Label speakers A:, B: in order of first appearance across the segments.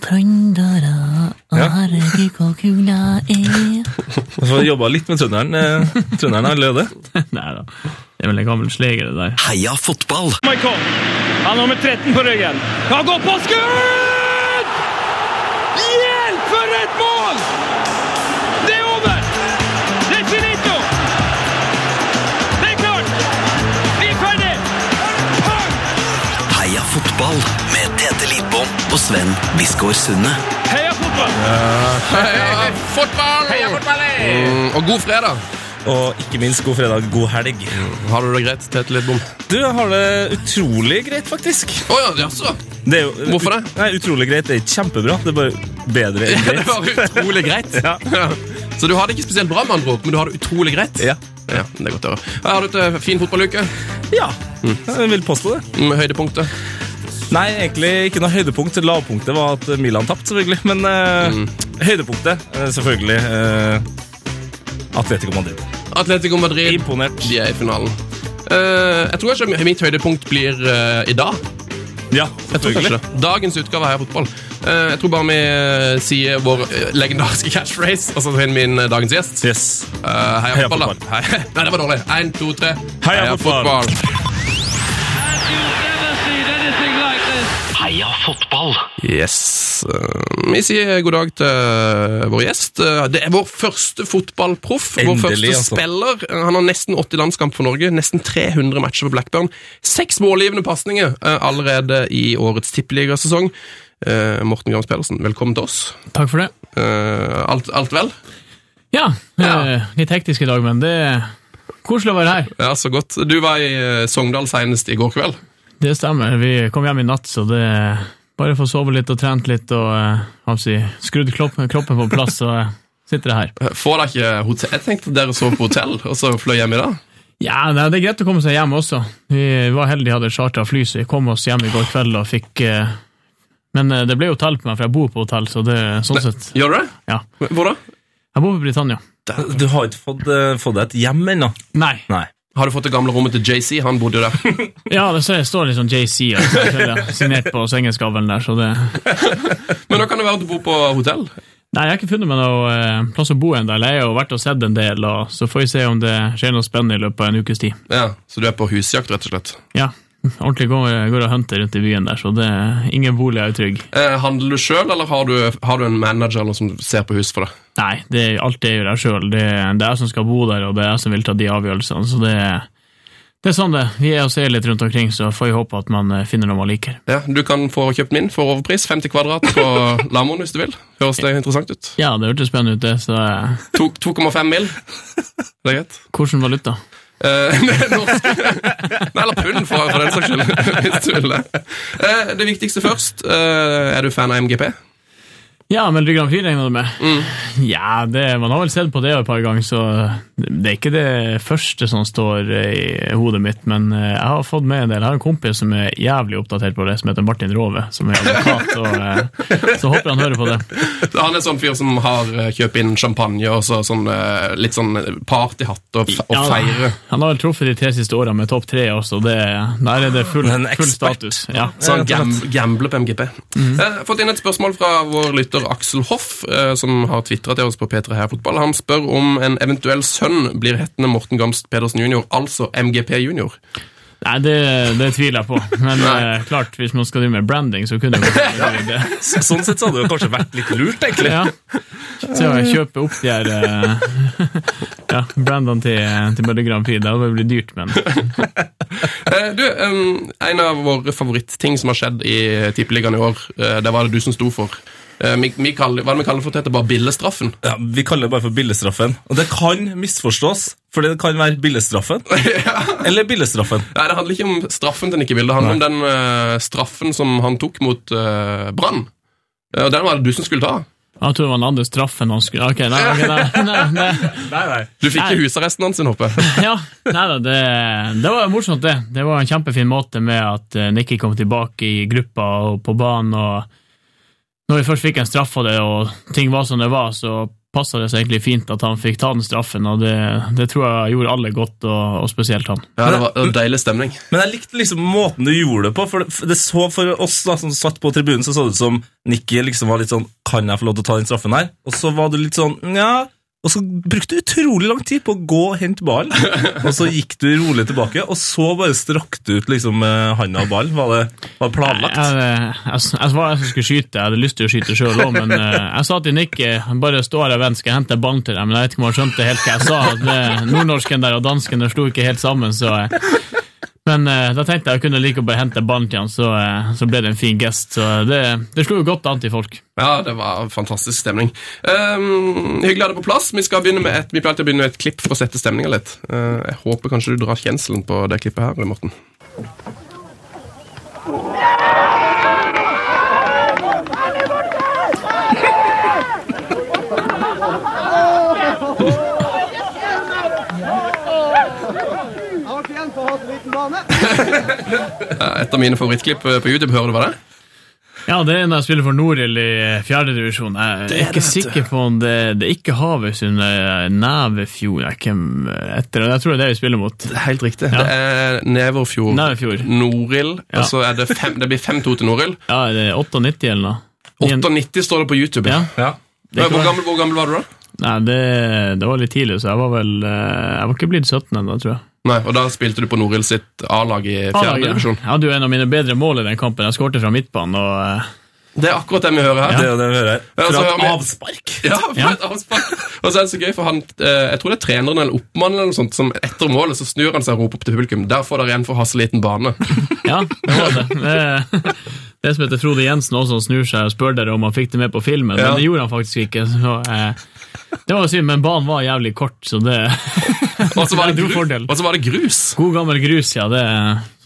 A: trøndere, og
B: Ja.
A: herregud hvor kula er.
B: Så har jeg jobba litt med trønderen, eh, trønderen allerede.
C: Nei da. Det er vel en gammel sleger, det der.
D: Heia fotball!
E: Michael. Han har nummer 13 på ryggen. Han går på skudd! Hjelp for et mål! Det er over! Det er finito! Det er klart! Vi er ferdig! Pang!
D: Heia fotball med Tete Lidbom og Sven Biskår Sunde.
E: Heia fotball!
F: Heia fotball! Mm, og god fredag!
B: Og ikke minst god fredag, god helg.
F: Har du det greit, Tete Lidbom?
B: Du, jeg har det utrolig greit, faktisk.
F: Å ja, jaså?
B: Det er jo,
F: Hvorfor det?
B: Nei, Utrolig greit det er ikke kjempebra. Det er bare bedre enn
F: Ja, det var
B: greit.
F: utrolig greit.
B: Ja.
F: Så du har det ikke spesielt bra, med andre ord, men du har det utrolig greit?
B: Ja.
F: Ja, det er godt å høre. Har du et eh, fin fotballuke?
B: ja. Jeg vil påstå det.
F: Med høydepunktet?
B: Nei, egentlig ikke noe høydepunkt. Lavpunktet var at Milan tapte, selvfølgelig. Men eh,
F: Mm.
B: høydepunktet, eh, selvfølgelig eh, Atletico Madrid.
F: Atletico Madrid,
B: Imponert.
F: de er i finalen. Eh, jeg tror ikke mitt høydepunkt blir eh, i dag.
B: Ja,
F: Jeg tror kanskje
B: selvfølgelig.
F: det. Dagens utgave av Heia fotball. Eh, jeg tror bare vi eh, sier vår eh, legendariske catchphrase, og så finner vi inn eh, dagens gjest.
B: Yes.
F: Eh, heia,
B: Heia
F: fotball, da.
B: fotball.
F: Hei. Nei, det var dårlig. Én, to, tre.
B: Heia fotball.
E: As you've never seen anything like this.
D: Heia fotball!
F: Yes. Eh, vi sier god dag til vår gjest. Eh, det er vår første fotballproff. Vår
B: Endelig,
F: første
B: altså.
F: spiller. Eh, han har nesten 80 landskamp for Norge, nesten 300 matcher for Blackburn. Seks målgivende pasninger eh, allerede i årets tippeligasesong. Eh, Morten Grams Pedersen, velkommen til oss.
C: Takk for det.
F: Eh, alt, alt vel?
C: Ja,
F: Ja.
C: eh, litt hektisk i dag, men det er koselig å være her.
F: Ja, så godt. Du var i eh, Sogndal senest i går kveld.
C: Det stemmer. Vi kom hjem i natt, så det er bare for å sove litt og trent litt og eh, hva skal jeg si, skrudd klopp- kroppen på plass, så eh, sitter jeg her.
F: Får dere ikke hotell? Jeg tenkte dere sov på hotell, og så fløy hjem i dag.
C: Ja, nei, Det er greit å komme seg hjem også. Vi var heldige, hadde chartra fly, så vi kom oss hjem i går kveld og fikk eh, Men eh, det ble hotell på meg, for jeg bor på hotell, så det sånn sett
F: Gjør du det?
C: Ja.
F: Hvor da?
C: Jeg bor i Britannia.
B: Du har ikke fått, eh, fått deg et hjem ennå?
C: Nei.
B: Nei.
F: Har du fått det gamle rommet til JC? Han bodde jo der.
C: Ja, det ser- står litt sånn JC altså, selvfølgelig, signert på sengeskavlen der, så det
F: Men nå kan det være at du bor på hotell.
C: Nei, jeg har ikke funnet meg noe eh, plass å bo ennå. Jeg har jo vært og sett en del, og så får vi se om det skjer noe spennende i løpet av en ukes tid.
F: Ja, Så du er på husjakt, rett og slett.
C: Ja, ordentlig går, går og hunter rundt i byen der, så det ingen bolig er utrygg.
F: Eh, handler du sjøl, eller har du, har du en manager eller noe som ser på hus for deg?
C: Nei, det, alt det gjør jeg sjøl. Det, det er jeg som skal bo der, og det er jeg som vil ta de avgjørelsene. Så det, det er sånn det. Vi er og ser litt rundt omkring, så får vi håpe at man eh, finner noe man liker.
F: Ja, Du kan få kjøpt min for overpris. 50 kvadrat på Lamoen hvis du vil. Høres det interessant ut?
C: Ja, det hørtes spennende ut, det. Så eh,
F: To- 2,5 mil. Det er greit.
C: hvordan valuta?
F: Eh, norsk. Nei, eller pund, for, for den saks skyld. Hvis du vil det. Eh, det viktigste først. Eh, er du fan av MGP?
C: Ja, men Grand Prix regner du med?
B: Mm.
C: Ja, det, man har vel sett på det et par ganger, så det er ikke det første som står eh, i hodet mitt, men eh, jeg har fått med en del. Jeg har en kompis som er jævlig oppdatert på det, som heter Martin Rove, som er advokat, og eh, så håper jeg han hører på det.
F: Han er sånn fyr som har eh, kjøpt inn champagne og så, sånn, eh, litt sånn partyhatt og, fe- og
C: Ja,
F: feire.
C: Han har vel truffet de tre siste årene med topp tre også, det, der er det full,
B: Han er en
C: full
B: ekspert.
C: status. Ja. Mhm.
F: Så han gam, gambler på MGP. Jeg har Eh, fått inn et spørsmål fra vår lytter Aksel Hoff, eh, som har tvitra til oss på P3 Heia Fotball. Han spør om en eventuell sønn blir hettende Morten Gamst Pedersen jr., altså MGP jr.
C: Nei, det, det tviler jeg på, men eh, klart, hvis man skal drive med branding, så kunne det vært en god idé.
B: Så- Sånn sett så hadde det jo kanskje vært litt lurt, egentlig.
C: Ja. Så jeg kjøper opp de her eh, ja, brandene til, til Melodi Grand Prix. Det hadde vel blitt dyrt, men
F: Eh, Du, em, en av våre favorittting som har skjedd i Tippeligaen i år, eh, det var det du som sto for. Eh, Vi, vi kaller, hva er det vi kaller for dette? Bare billestraffen?
B: Ja, Vi kaller det bare for billestraffen. Og det kan misforstås, for det kan være billestraffen eller billestraffen.
F: Nei, det handler ikke om straffen til Nikke Bilde, det handler om den eh, straffen som han tok mot eh, Brann. Eh, Og den var det du som skulle ta.
C: jeg tror det var den andre straffen han skulle Ok, nei, ok, nei, nei, nei.
B: Nei, nei.
F: Du fikk
C: Nei.
F: ikke husarresten hans, håper jeg.
C: Ja, nei da, det, det var morsomt, det. Det var en kjempefin måte med at eh, Nikki kom tilbake i gruppa og på banen. og Når vi først fikk en straff av det, og ting var som det var, så passa det seg egentlig fint at han fikk ta den straffen, og det, det tror jeg gjorde alle godt, og, og spesielt han.
F: Ja, det var, det var deilig stemning.
B: Men jeg likte liksom måten du gjorde det på. For det, for det så for oss da, som satt på tribunen, så så det ut som Nikki liksom var litt sånn Kan jeg få lov til å ta den straffen her? Og så var du litt sånn Nja. Og så brukte du utrolig lang tid på å gå og hente ballen. Og så gikk du rolig tilbake, og så bare strakte du ut liksom eh, handa og ballen. Var det, var det
C: Jeg,
B: planlagt?
C: jeg, jeg var jeg som skulle skyte, jeg hadde lyst til å skyte sjøl òg, men eh, jeg sa til Nick eh, bare stå her og vent, skal jeg hente ballen til deg, men jeg vet ikke om han skjønte helt hva jeg sa. at det- Nordnorsken der og dansken der sto ikke helt sammen, så eh, Men eh, da tenkte jeg jeg kunne like å bare hente ballen til han, så, eh, så ble det en fin gest. Så det, det slo jo godt an til folk.
F: Ja, det var fantastisk stemning. Ehm, hyggelig å ha deg på plass. Vi, skal begynne med et, vi pleier alltid å begynne med et klipp for å sette stemninga litt. Eh, jeg håper kanskje du drar kjenselen på det klippet her, Morten. Ja, Et av mine favorittklipp eh, på YouTube, hører du hva det er?
C: Ja, det er når jeg spiller for Norild i fjerdedivisjon. Jeg er ikke sikker på om det, det er ikke Havøysund, eh, Nævefjord jeg, hvem, etter, jeg tror det er det vi spiller mot.
F: Helt riktig. Det er Neverfjord,
C: Neverfjord.
F: Norild,
C: Ja.
F: og så er det, fem, det blir 5-2 til Norild.
C: Ja, er det 98 eller noe? Nien-
F: 98 står det på YouTube.
C: Ja.
F: Ja.
C: Det kan
F: Hvor,
C: være-
F: gammel, hvor gammel var du da?
C: Nei, det, det var litt tidlig, så jeg var vel eh, Jeg var ikke blitt 17 ennå, tror jeg.
F: Nei, og Da spilte du på Norild sitt A-lag i fjerde divisjon.
C: Jeg hadde jo en av mine bedre mål i den kampen. Jeg skårte fra midtbanen, og eh,
F: Det er akkurat det vi hører her.
B: Det er jo det vi hører her.
F: Ja, så
B: Fra
F: har
B: et
F: vi-
B: avspark.
F: Ja, for et avspark. Og så er det så gøy, for han, eh, jeg tror det er treneren eller oppmannen eller noe sånt, som etter målet så snur han seg og roper opp til publikum. Der får dere igjen for å ha så liten bane.
C: ja, det var det. det. Det som heter Frode Jensen også, som snur seg og spør dere om han fikk det med på filmen,
F: Ja.
C: men det gjorde han faktisk ikke. Så, eh, det var synd, men banen var jævlig kort, så det
F: Og så var
C: Det er
F: det
C: en
F: grus.
C: fordel.
F: Og så var det grus.
C: God gammel grus, ja. Det,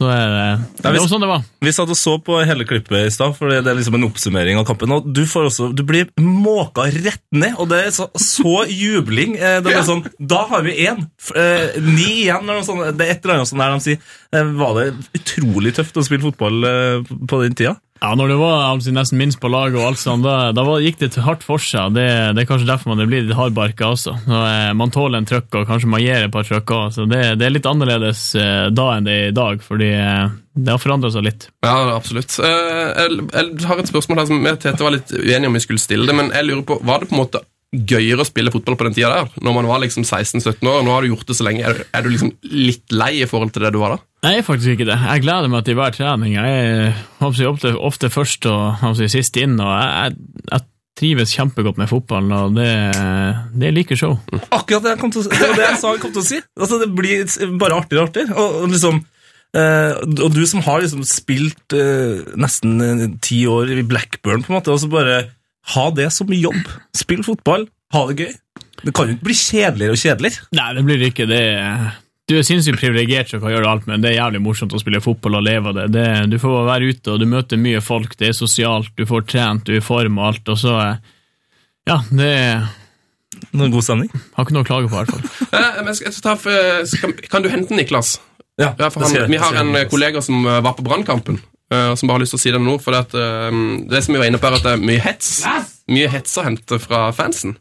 C: så er det, det var sånn det var.
B: Vi satt og så på hele klippet i stad, for det er liksom en oppsummering av kampen. Og du, får også, du blir måka rett ned, og det er så, så jubling. Eh, Det er bare sånn, Da har vi én! F- eh, Ni igjen, eller noe sånt. Det er et eller annet sånt der de sier. Eh, Var det utrolig tøft å spille fotball eh, på den tida?
C: Ja, når det var altså, nesten minst på laget, og alt sånt, da, da var, gikk det til hardt for seg. Det, det er kanskje derfor man blir litt hardbarka også. Så, eh, man tåler en trøkk, og kanskje man gir et par trøkker også. Så Det, det er litt annerledes eh, da enn det er i dag, fordi eh, det har forandra seg litt.
F: Ja, absolutt. Eh, Jeg, jeg har et spørsmål her som vi og Tete var litt uenige om vi skulle stille det, men jeg lurer på, var det på en måte gøyere å spille fotball på den tida der, når man var liksom 16-17 år, og nå har du gjort det så lenge, er du, er du liksom litt lei i forhold til det du var da?
C: Nei, jeg er faktisk ikke det. Jeg gleder meg til hver trening. Jeg eh, er håper jeg, ofte, ofte først og håper jeg, sist inn, og jeg, jeg, jeg trives kjempegodt med fotballen, og det, det er like show.
B: Akkurat det jeg, kom til, å- det, var det jeg sa jeg kom til å si. Altså, det blir s- bare artigere og artigere. Og, og, liksom, eh, og du som har liksom spilt eh, nesten eh, ti år i Blackburn, på en måte, og så bare ha det som jobb. Spill fotball, ha det gøy. Det kan jo ikke bli kjedeligere og kjedeligere.
C: Nei, det blir det ikke. Det er- du er sinnssykt privilegert som kan gjøre alt, men det er jævlig morsomt å spille fotball og leve av det. det. Du får være ute, og du møter mye folk, det er sosialt, du får trent, du er i form og alt, og så eh, Ja, det er-
B: Noen god stemning.
C: har ikke noe å klage på, i hvert fall.
F: Eh, Men jeg skal, jeg skal ta, for- skal, kan du hente Niklas?
B: Ja,
F: Ja, for
B: det skal jeg-
F: han, vi har
B: det skal
F: en
B: jeg-
F: eh, kollega som eh, var på brannkampen, eh, som bare har lyst til å si det nå. For det, at, eh, det som vi var inne på, er at det er mye hets. Mye hets å hente fra fansen.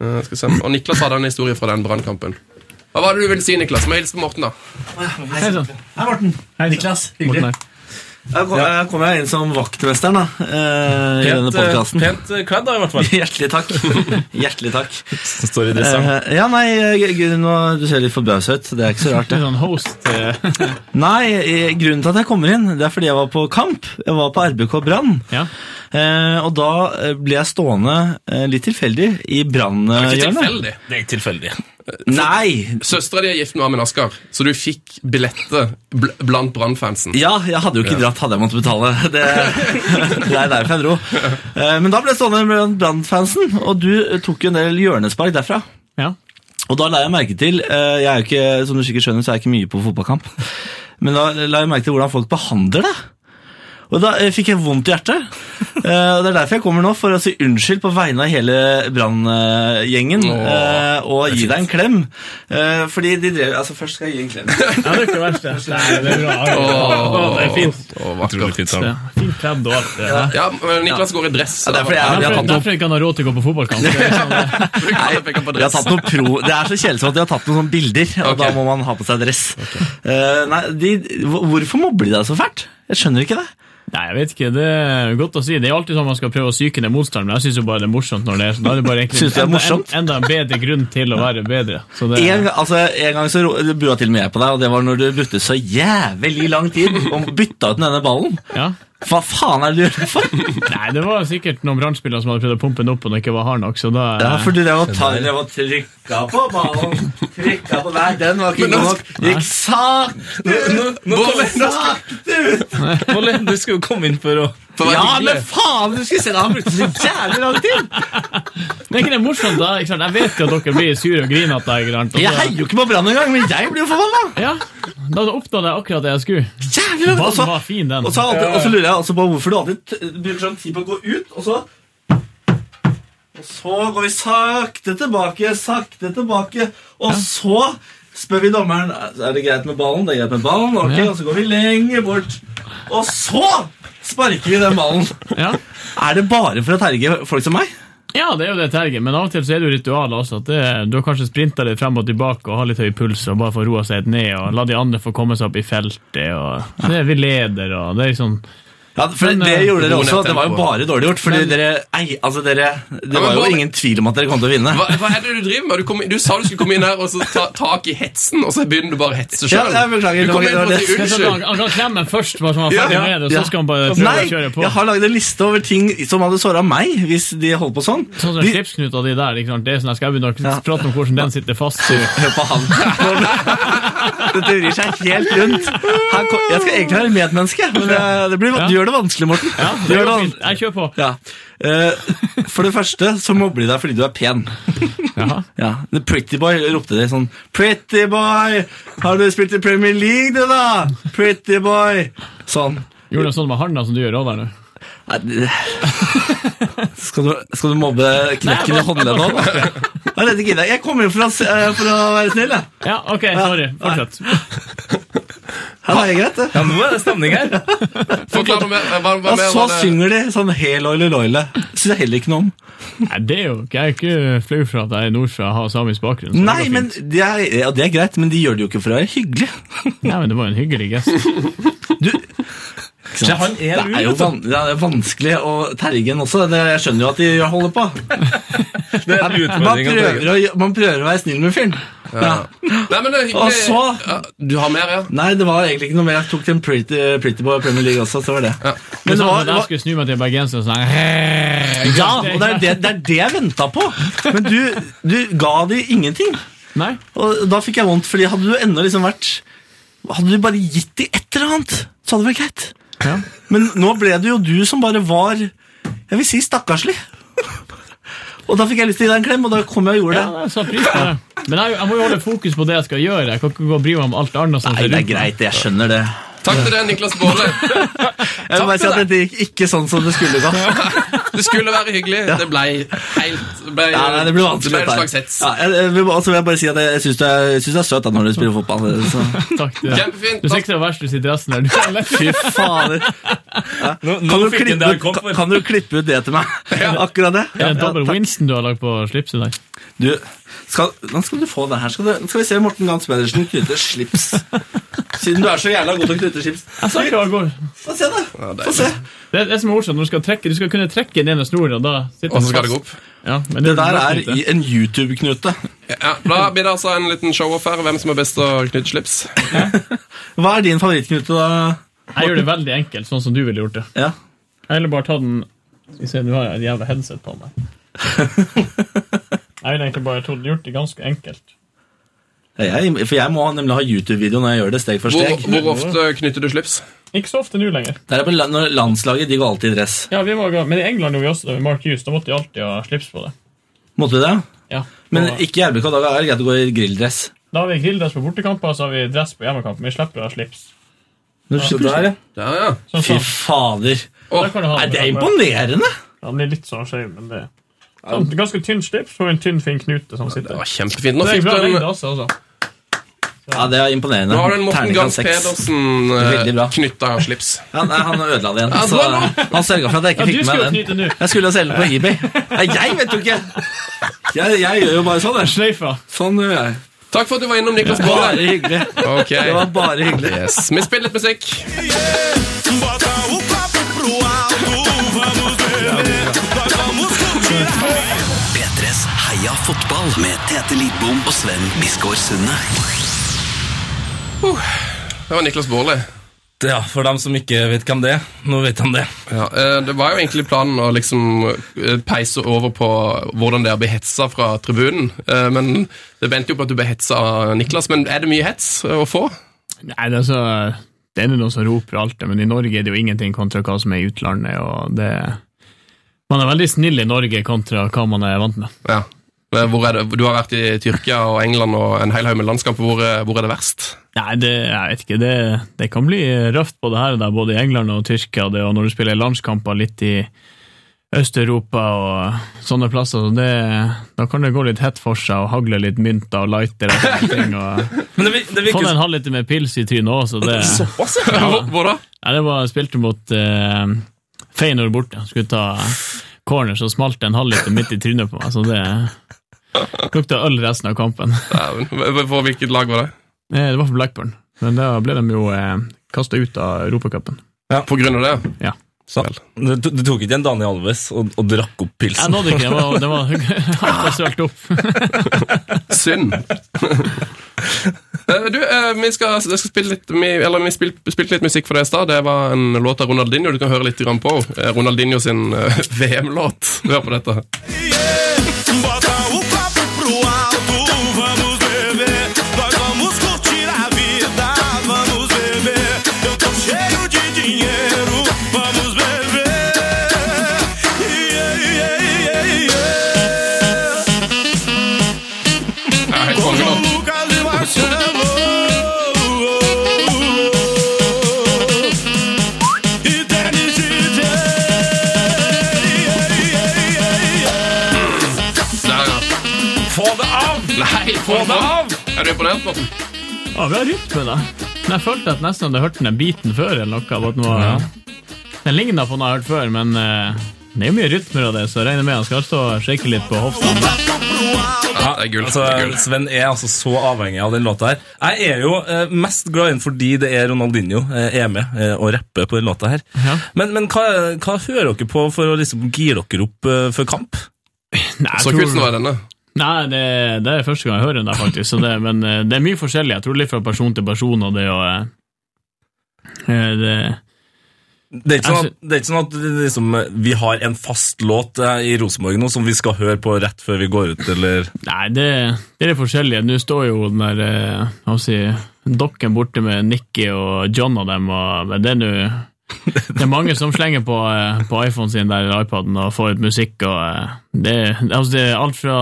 F: Eh, skal vi se. om- Og Niklas hadde en historie fra den brannkampen. Hva var det du ville si, Niklas? Må hilse på Morten, da.
C: Hei sann.
G: Hei, Morten. Niklas.
C: Morten her.
G: Jeg kom- jeg kommer her inn som vaktmesteren da, eh, i denne
B: Pent, eh,
G: podkasten.
B: pent eh, kledd, da, i hvert fall.
G: Hjertelig takk. Hjertelig takk.
B: Står i dresseren.
G: Eh, ja, nei, eh, gud, nå, Du ser litt forbausa ut. Det er ikke så rart,
C: Det er
G: det.
C: sånn host eh,
G: Nei, eh, Grunnen til at jeg kommer inn, det er fordi jeg var på kamp. Jeg var på RBK Brann.
C: Ja.
G: Eh, og da eh, ble jeg stående eh, litt tilfeldig i
F: Ikke
G: brannhjørnet.
F: tilfeldig.
B: Eh, Det er ikke tilfeldig.
G: Nei!
F: Søstera di er gift med Amin Askar, så du fikk billetter bl blant Brann-fansen.
G: Ja, jeg hadde jo ikke dratt hadde jeg måttet betale. Det, det er derfor jeg dro. Eh, Men da ble jeg stående blant Brann-fansen, og du eh, tok jo en del hjørnespark derfra.
C: ja.
G: Og da la jeg merke til eh, Jeg er jo ikke, som du sikkert skjønner, så er jeg ikke mye på fotballkamp. Men da la jeg merke til hvordan folk behandler det. Og da eh, fikk jeg vondt i hjertet. Eh, og Det er derfor jeg kommer nå, for å si unnskyld på vegne av hele Brann-gjengen.
F: Åh,
G: og gi deg en klem. Eh, fordi de drev Altså, først skal jeg gi en klem.
C: Ja, det er ikke verst, det. Nei, det er bra. Å, det er fint.
F: Åh,
B: Utrolig
F: vakkert.
B: fint sammen.
C: Ja, Fint kledd og alt. det.
F: Ja, men Niklas går i dress.
G: Ja, det er fordi jeg-
F: Ja,
G: vi har
C: Derfor,
G: tatt
C: derfor ikke han har råd til å gå på fotballkamp. Det er Liksom,
F: for- Niklas peker
G: Vi
F: på
G: har
F: dress.
G: tatt noen pro Det er så kjedelig som at de har tatt noen sånne bilder, og
F: Ok.
G: da må man ha på seg dress. Eh, nei, de, hvor- hvorfor mobber de deg så fælt? Jeg skjønner ikke det.
C: Nei, jeg vet ikke, det er godt å si. Det er alltid sånn man skal prøve å psyke ned motstanderen, men jeg syns jo bare det er morsomt når det er sånn. Da er det bare egentlig
G: Synes du det er
C: enda-
G: morsomt?
C: en- Enda en bedre grunn til å være bedre. Så det,
G: En, altså, en gang så ro- bua til og med jeg på deg, og det var når du brukte så jævlig lang tid og bytta ut denne ballen.
C: ja.
G: Hva faen er det du gjør det for?
C: Nei, det var sikkert noen brannspillere som hadde prøvd å pumpe den opp, og den ikke var hard nok, så da
G: Ja, for du drev og tar- drev og trykka på ballen. Trykka på der, den var ikke
F: Men nå-
G: god nok. Gikk sakte ut,
F: Bolle, nå skal-
G: sakte ut.
B: Molle, du skal jo komme inn for å
F: for å være
G: Ja,
F: hyggelig.
G: men faen, du skulle se det! Han brukte så jævlig lang tid!
C: Men er ikke det morsomt, da? Ikke sant? Jeg vet jo at dere blir sure og grinete. ikke sant? Og
G: Jeg
C: så-
G: heier jo ikke på Brann engang, men jeg blir jo forbanna!
C: Ja, da oppnådde jeg akkurat det jeg skulle.
G: Jævlig langt! Og så,
C: Ballen var fin, den.
G: og så, alltid, og så lurer jeg også på hvorfor du alltid t- bruker sånn tid på å gå ut, og så Og så går vi sakte tilbake, sakte tilbake, og så spør vi dommeren Er det greit med ballen. Det er greit med ballen, ok,
C: Ja.
G: og så går vi lenger bort. Og så sparker vi den ballen.
C: Ja.
G: Er det bare for å terge folk som meg?
C: ja, det er jo det terget, men av og til så er det jo ritualet også. At det, du har kanskje sprinta litt frem og tilbake og har litt høy puls og bare får roa seg litt ned og la de andre få komme seg opp i feltet. Og så er vi leder, og det er liksom
G: Ja, for
C: Men,
G: Det
C: eh,
G: gjorde dere
F: ro ned
G: også. Det var jo
F: tempoet.
G: bare dårlig gjort. Fordi dere, ei, altså dere, Det
F: men
G: var jo
F: bare-
G: ingen tvil om at dere kom til å vinne.
F: Hva, hva er det du driver med? Du, kom, du sa du skulle komme inn her og så ta tak i hetsen, og så begynner du bare å hetse
G: Ja,
F: sjøl.
G: jeg beklager,
F: du
G: det var-
F: kom inn
G: det var
F: for å si
G: det-
C: Det er sånn at Han
F: unnskyld.
C: han kan klemme den først, bare så han er
F: Ja,
C: ferdig
F: ja.
C: med det, og så skal han bare prøve
G: Nei,
C: å kjøre på.
G: jeg har lagd en liste over ting som hadde såra meg, hvis de holdt på sånn.
C: Sånn som
G: De-
C: slipsknuta di der. Ikke sant? Det er sånn, jeg skal begynne å
G: Ja.
C: prate om hvordan den sitter fast.
G: Hør på han. Dette vrir seg helt rundt. Han kom, jeg skal egentlig være medmenneske, men det, det blir,
C: Ja.
G: du gjør det vanskelig, Morten.
C: Ja,
G: du
C: det
G: gjør
C: går
G: det van-
C: fint. Jeg kjører på.
G: ja. Eh, for det første så mobber de deg fordi du er pen.
C: Jaha.
G: Ja, The Pretty Boy ropte det sånn Pretty Boy! Har du spilt i Premier League, du, da? Pretty Boy! Sånn.
C: Gjorde du sånn med handa som du gjør òg der nå?
G: Nei, det- skal, du, skal du mobbe knekken i håndleddet òg? Jeg vet ikke, jeg kommer jo for å, se- eh, for å være snill, jeg.
C: Ja, ok, sorry. Fortsett.
G: Ja, det er greit, det.
B: Ja, nå er det stemning her.
F: Forklar noe mer. Hva, hva,
G: Og
F: mer
G: så
F: var det?
G: synger de sånn Hel oile loile. Syns jeg heller ikke noe om.
C: Nei, det er jo ikke, Jeg er ikke flau for at jeg er nordfra og har samisk bakgrunn. så
G: Nei,
C: det går
G: men
C: fint.
G: det er, ja, det er greit, men de gjør det jo ikke for å være hyggelig.
C: Nei, men det var jo en hyggelig gest.
B: Se, han
G: Det
B: er
G: er jo
B: lur.
G: van, det er vanskelig å terge en også. Det, jeg skjønner jo at de holder på.
B: Det er en
G: Man
B: utfordring. å
G: prøver,
B: tenke.
G: å, man prøver å være snill med fyren. Ja.
F: Nei, men det er
G: Og
F: hyggelig.
G: så
F: Ja, du har mer, ja?
G: Nei, det var egentlig ikke noe mer. Jeg tok til en pretty, pretty boy i Premier League også, så var det.
F: Ja.
C: Det
G: Men det
C: sånn
G: var,
C: at
G: det
C: jeg
G: var
C: skulle snu meg til bergenseren og sånn
G: ja, og det er det, det, er det jeg venta på! Men du, du ga de ingenting.
C: Nei,
G: Og da fikk jeg vondt, fordi hadde du ennå liksom vært Hadde du bare gitt de et eller annet, så hadde det vært greit.
C: ja.
G: Men nå ble det jo du som bare var Jeg vil si stakkarslig. og da fikk jeg lyst til å gi deg en klem, og da kom jeg og gjorde
C: ja
G: det.
C: jeg satte pris på det. Men jeg, jeg må jo holde fokus på det jeg skal gjøre. Jeg kan ikke gå og bry meg om alt annet. som
G: Nei,
C: skjer
G: det er
C: rundt meg.
G: greit, jeg skjønner det.
F: Takk til deg, Niklas Baarli.
G: Jeg vil bare si at dette gikk ikke sånn som det skulle gå.
F: Det skulle være hyggelig. Det ble helt det ble,
G: Ja, nei, det blir vanskelig. dette
F: det ble en
G: her.
F: slags hets.
G: Ja, jeg, jeg, vil bare- altså, vil jeg bare si at jeg, jeg syns du, er- jeg synes du er søt da, når du spiller fotball. eh, Så.
C: Takk, du.
F: Kjempefint.
C: Du ser ikke det verste ut i dressen der. Du er lett.
G: Fy fader.
B: Nå, nå
G: Kan du,
B: fikk
G: klippe,
B: han det han
G: ut-
B: kom
G: kan,
B: for.
G: kan du klippe ut det til meg? Akkurat det?
C: Er det en
G: Ja,
C: dobbel
G: takk.
C: Winston du har lagd på slipset der?
G: Du, skal, nå skal du få det her. Skal du, nå skal vi se Morten Gans Pedersen knyte slips. Siden du er så jævla god til å knyte slips.
C: Jeg sa ikke hva det går.
G: Få se, da. Få se.
C: Det det er som er morsomt, når du skal trekke, du skal kunne trekke den ene snoren, og da sitter
F: Og
C: den
F: så skal
C: fast.
F: det gå opp.
C: Ja, men
G: Det
C: jo
G: der er
C: morsomt, det.
G: i en YouTube-knute.
F: Ja, da blir det altså en liten show-off her. Hvem som er best til å knytte slips.
G: Hva er din favorittknute, da?
C: Jeg gjør det veldig enkelt, sånn som du ville gjort det.
G: Ja.
C: Jeg ville bare ta den Skal vi se, nå har jeg et jævla headset på meg. Jeg ville egentlig bare tatt- gjort det ganske enkelt.
G: Ja, Jeg, for jeg må nemlig ha YouTube-video når jeg gjør det steg for
F: Hvor,
G: steg.
F: hvor ofte knytter du slips?
C: Ikke så ofte nå lenger.
G: Det er på la- når landslaget de går alltid i dress.
C: Ja, vi var, ga- Men i England gjorde vi også det med Mark Hughes. Da måtte de alltid ha slips på det.
G: Måtte du det?
C: Ja,
G: Men
C: og
G: ikke i RBK. Da er det greit å gå i grilldress.
C: Da har vi grilldress på bortekamper, og så har vi dress på hjemmekamp. Men vi slipper å ha slips.
B: Se der, ja.
F: Der, ja.
G: Altså,
C: Sånn.
G: Fy fader.
F: Åh,
C: Der kan du ha
G: Nei,
C: den.
G: det er imponerende.
C: Han er litt sånn skeiv, men det Sånn, Ganske tynn slips og en tynn, fin knute som
F: det
C: sitter.
F: var kjempefint. Nå
C: Det er
F: fikk
C: bra
F: du en
C: lengde også, altså.
G: Ja, det er imponerende.
F: nå har du en Morten Gams
G: Terningkast seks. Veldig bra.
F: Pedersen knytta slips.
G: Han, nei, han ødela det igjen.
F: Ja,
G: Så,
F: bra, bra.
G: han sørga for at jeg
C: Ja,
G: ikke
C: du skulle
G: fikk med
C: jo
G: den.
C: knyte den, du.
G: Jeg skulle jo selge den på eBay. Nei, jeg vet jo ikke! Jeg, jeg gjør jo bare sånn. jeg.
C: Sleifa.
G: Sånn gjør jeg.
F: Takk for at du var innom, Niklas
G: Bare
F: Baarli.
G: hyggelig.
F: Ok,
G: Det var bare hyggelig.
F: yes. Vi spiller litt musikk.
D: P3s Heia fotball med Tete Lidbom og Sven Biskår Sunde.
F: Det var Niklas Baarli.
B: ja. For dem som ikke vet hvem det er, nå vet han det.
F: Ja, eh, det var jo egentlig planen å liksom eh, peise over på hvordan det er å bli hetsa fra tribunen. Eh, Men det vendte jo på at du ble hetsa av Niklas. Men er det mye hets eh, å få?
C: Nei, det er så Det er jo noen som roper alt det, men i Norge er det jo ingenting kontra hva som er i utlandet, og det Man er veldig snill i Norge kontra hva man er vant med.
F: Ja. Eh, Hvor er det? Du har vært i Tyrkia og England og en hel haug med landskamper. Hvor, eh, hvor er det verst?
C: Nei, det, jeg vet ikke, det, det kan bli røft både her og der, både i England og Tyrkia, det, og når du spiller landskamper litt i Øst-Europa og sånne plasser, så det, da kan det gå litt hett for seg og hagle litt mynter og lightere og sånne ting. og...
B: Men det, vir- det virker
C: Fått en halvliter med pils i trynet òg, så det
B: Såpass, ja.
F: Hvor, hvor da?
C: Nei, det var, jeg spilte mot eh, Feyenoord borte. Skulle ta corner, så smalt det en halvliter midt i trynet på meg. Så det lukta øl resten av kampen.
F: Dæven. Hva- For hvilket lag var det?
C: Eh, Det var for Blackburn, men da ble de jo eh, kasta ut av Europacupen.
F: På grunn av det? ja.
B: Så, du, du tok ikke en Daniel Alves og, og drakk opp
C: Jeg
B: pilsen?
C: nådde ikke, det var, det var hardt og sølt opp.
F: Synd. Eh, du, eh, vi skal, jeg skal spille litt, vi, eller vi spil, spilte litt musikk for deg i stad. Det var en låt av Ronaldinho du kan høre litt grann på. Eh, Ronaldinho sin eh, VM-låt. Hør på dette. Ja, helt kongelåt. Der, ja.
B: Få det av!
F: Nei, få det av! Er du imponert, Morten?
C: Ja, vi har rytme, da. Men jeg følte at nesten hadde hørt den biten før. eller noe. Bare at den var, Den ligna på den jeg har hørt før, men eh, det er jo mye rytmer av det, så jeg regner med han skal stå og shake litt på hofta.
F: Ja, det er gull.
B: Altså,
F: det er gull.
B: Sven er altså så avhengig av den låta her. Jeg er jo eh, mest glad i den fordi det er Ronaldinho eh, er med eh, og rapper på den låta her.
C: Ja.
B: Men, men hva, hva hører dere på for å liksom gire dere opp eh, før kamp?
C: Nei, jeg
F: Så
C: tror-
F: kult som var denne.
C: Nei, det, det er første gang jeg hører den der, faktisk. Så det, men eh, det er mye forskjellig. Jeg tror det er litt fra person til person, og det å eh, eh, det,
B: Det er ikke sånn
C: Jeg
B: at, det er ikke sånn at det liksom, eh, vi har en fast låt eh, i Rosenborg nå som vi skal høre på rett før vi går ut, eller
C: Nei, det, det er det forskjellige. Nå står jo den der eh, hva skal jeg si, dokken borte med Nikki og John og dem, og, men det er nå Det er mange som slenger på, eh, på iPhonen sin der eller iPaden og får ut musikk, og eh, det, altså, det er alt fra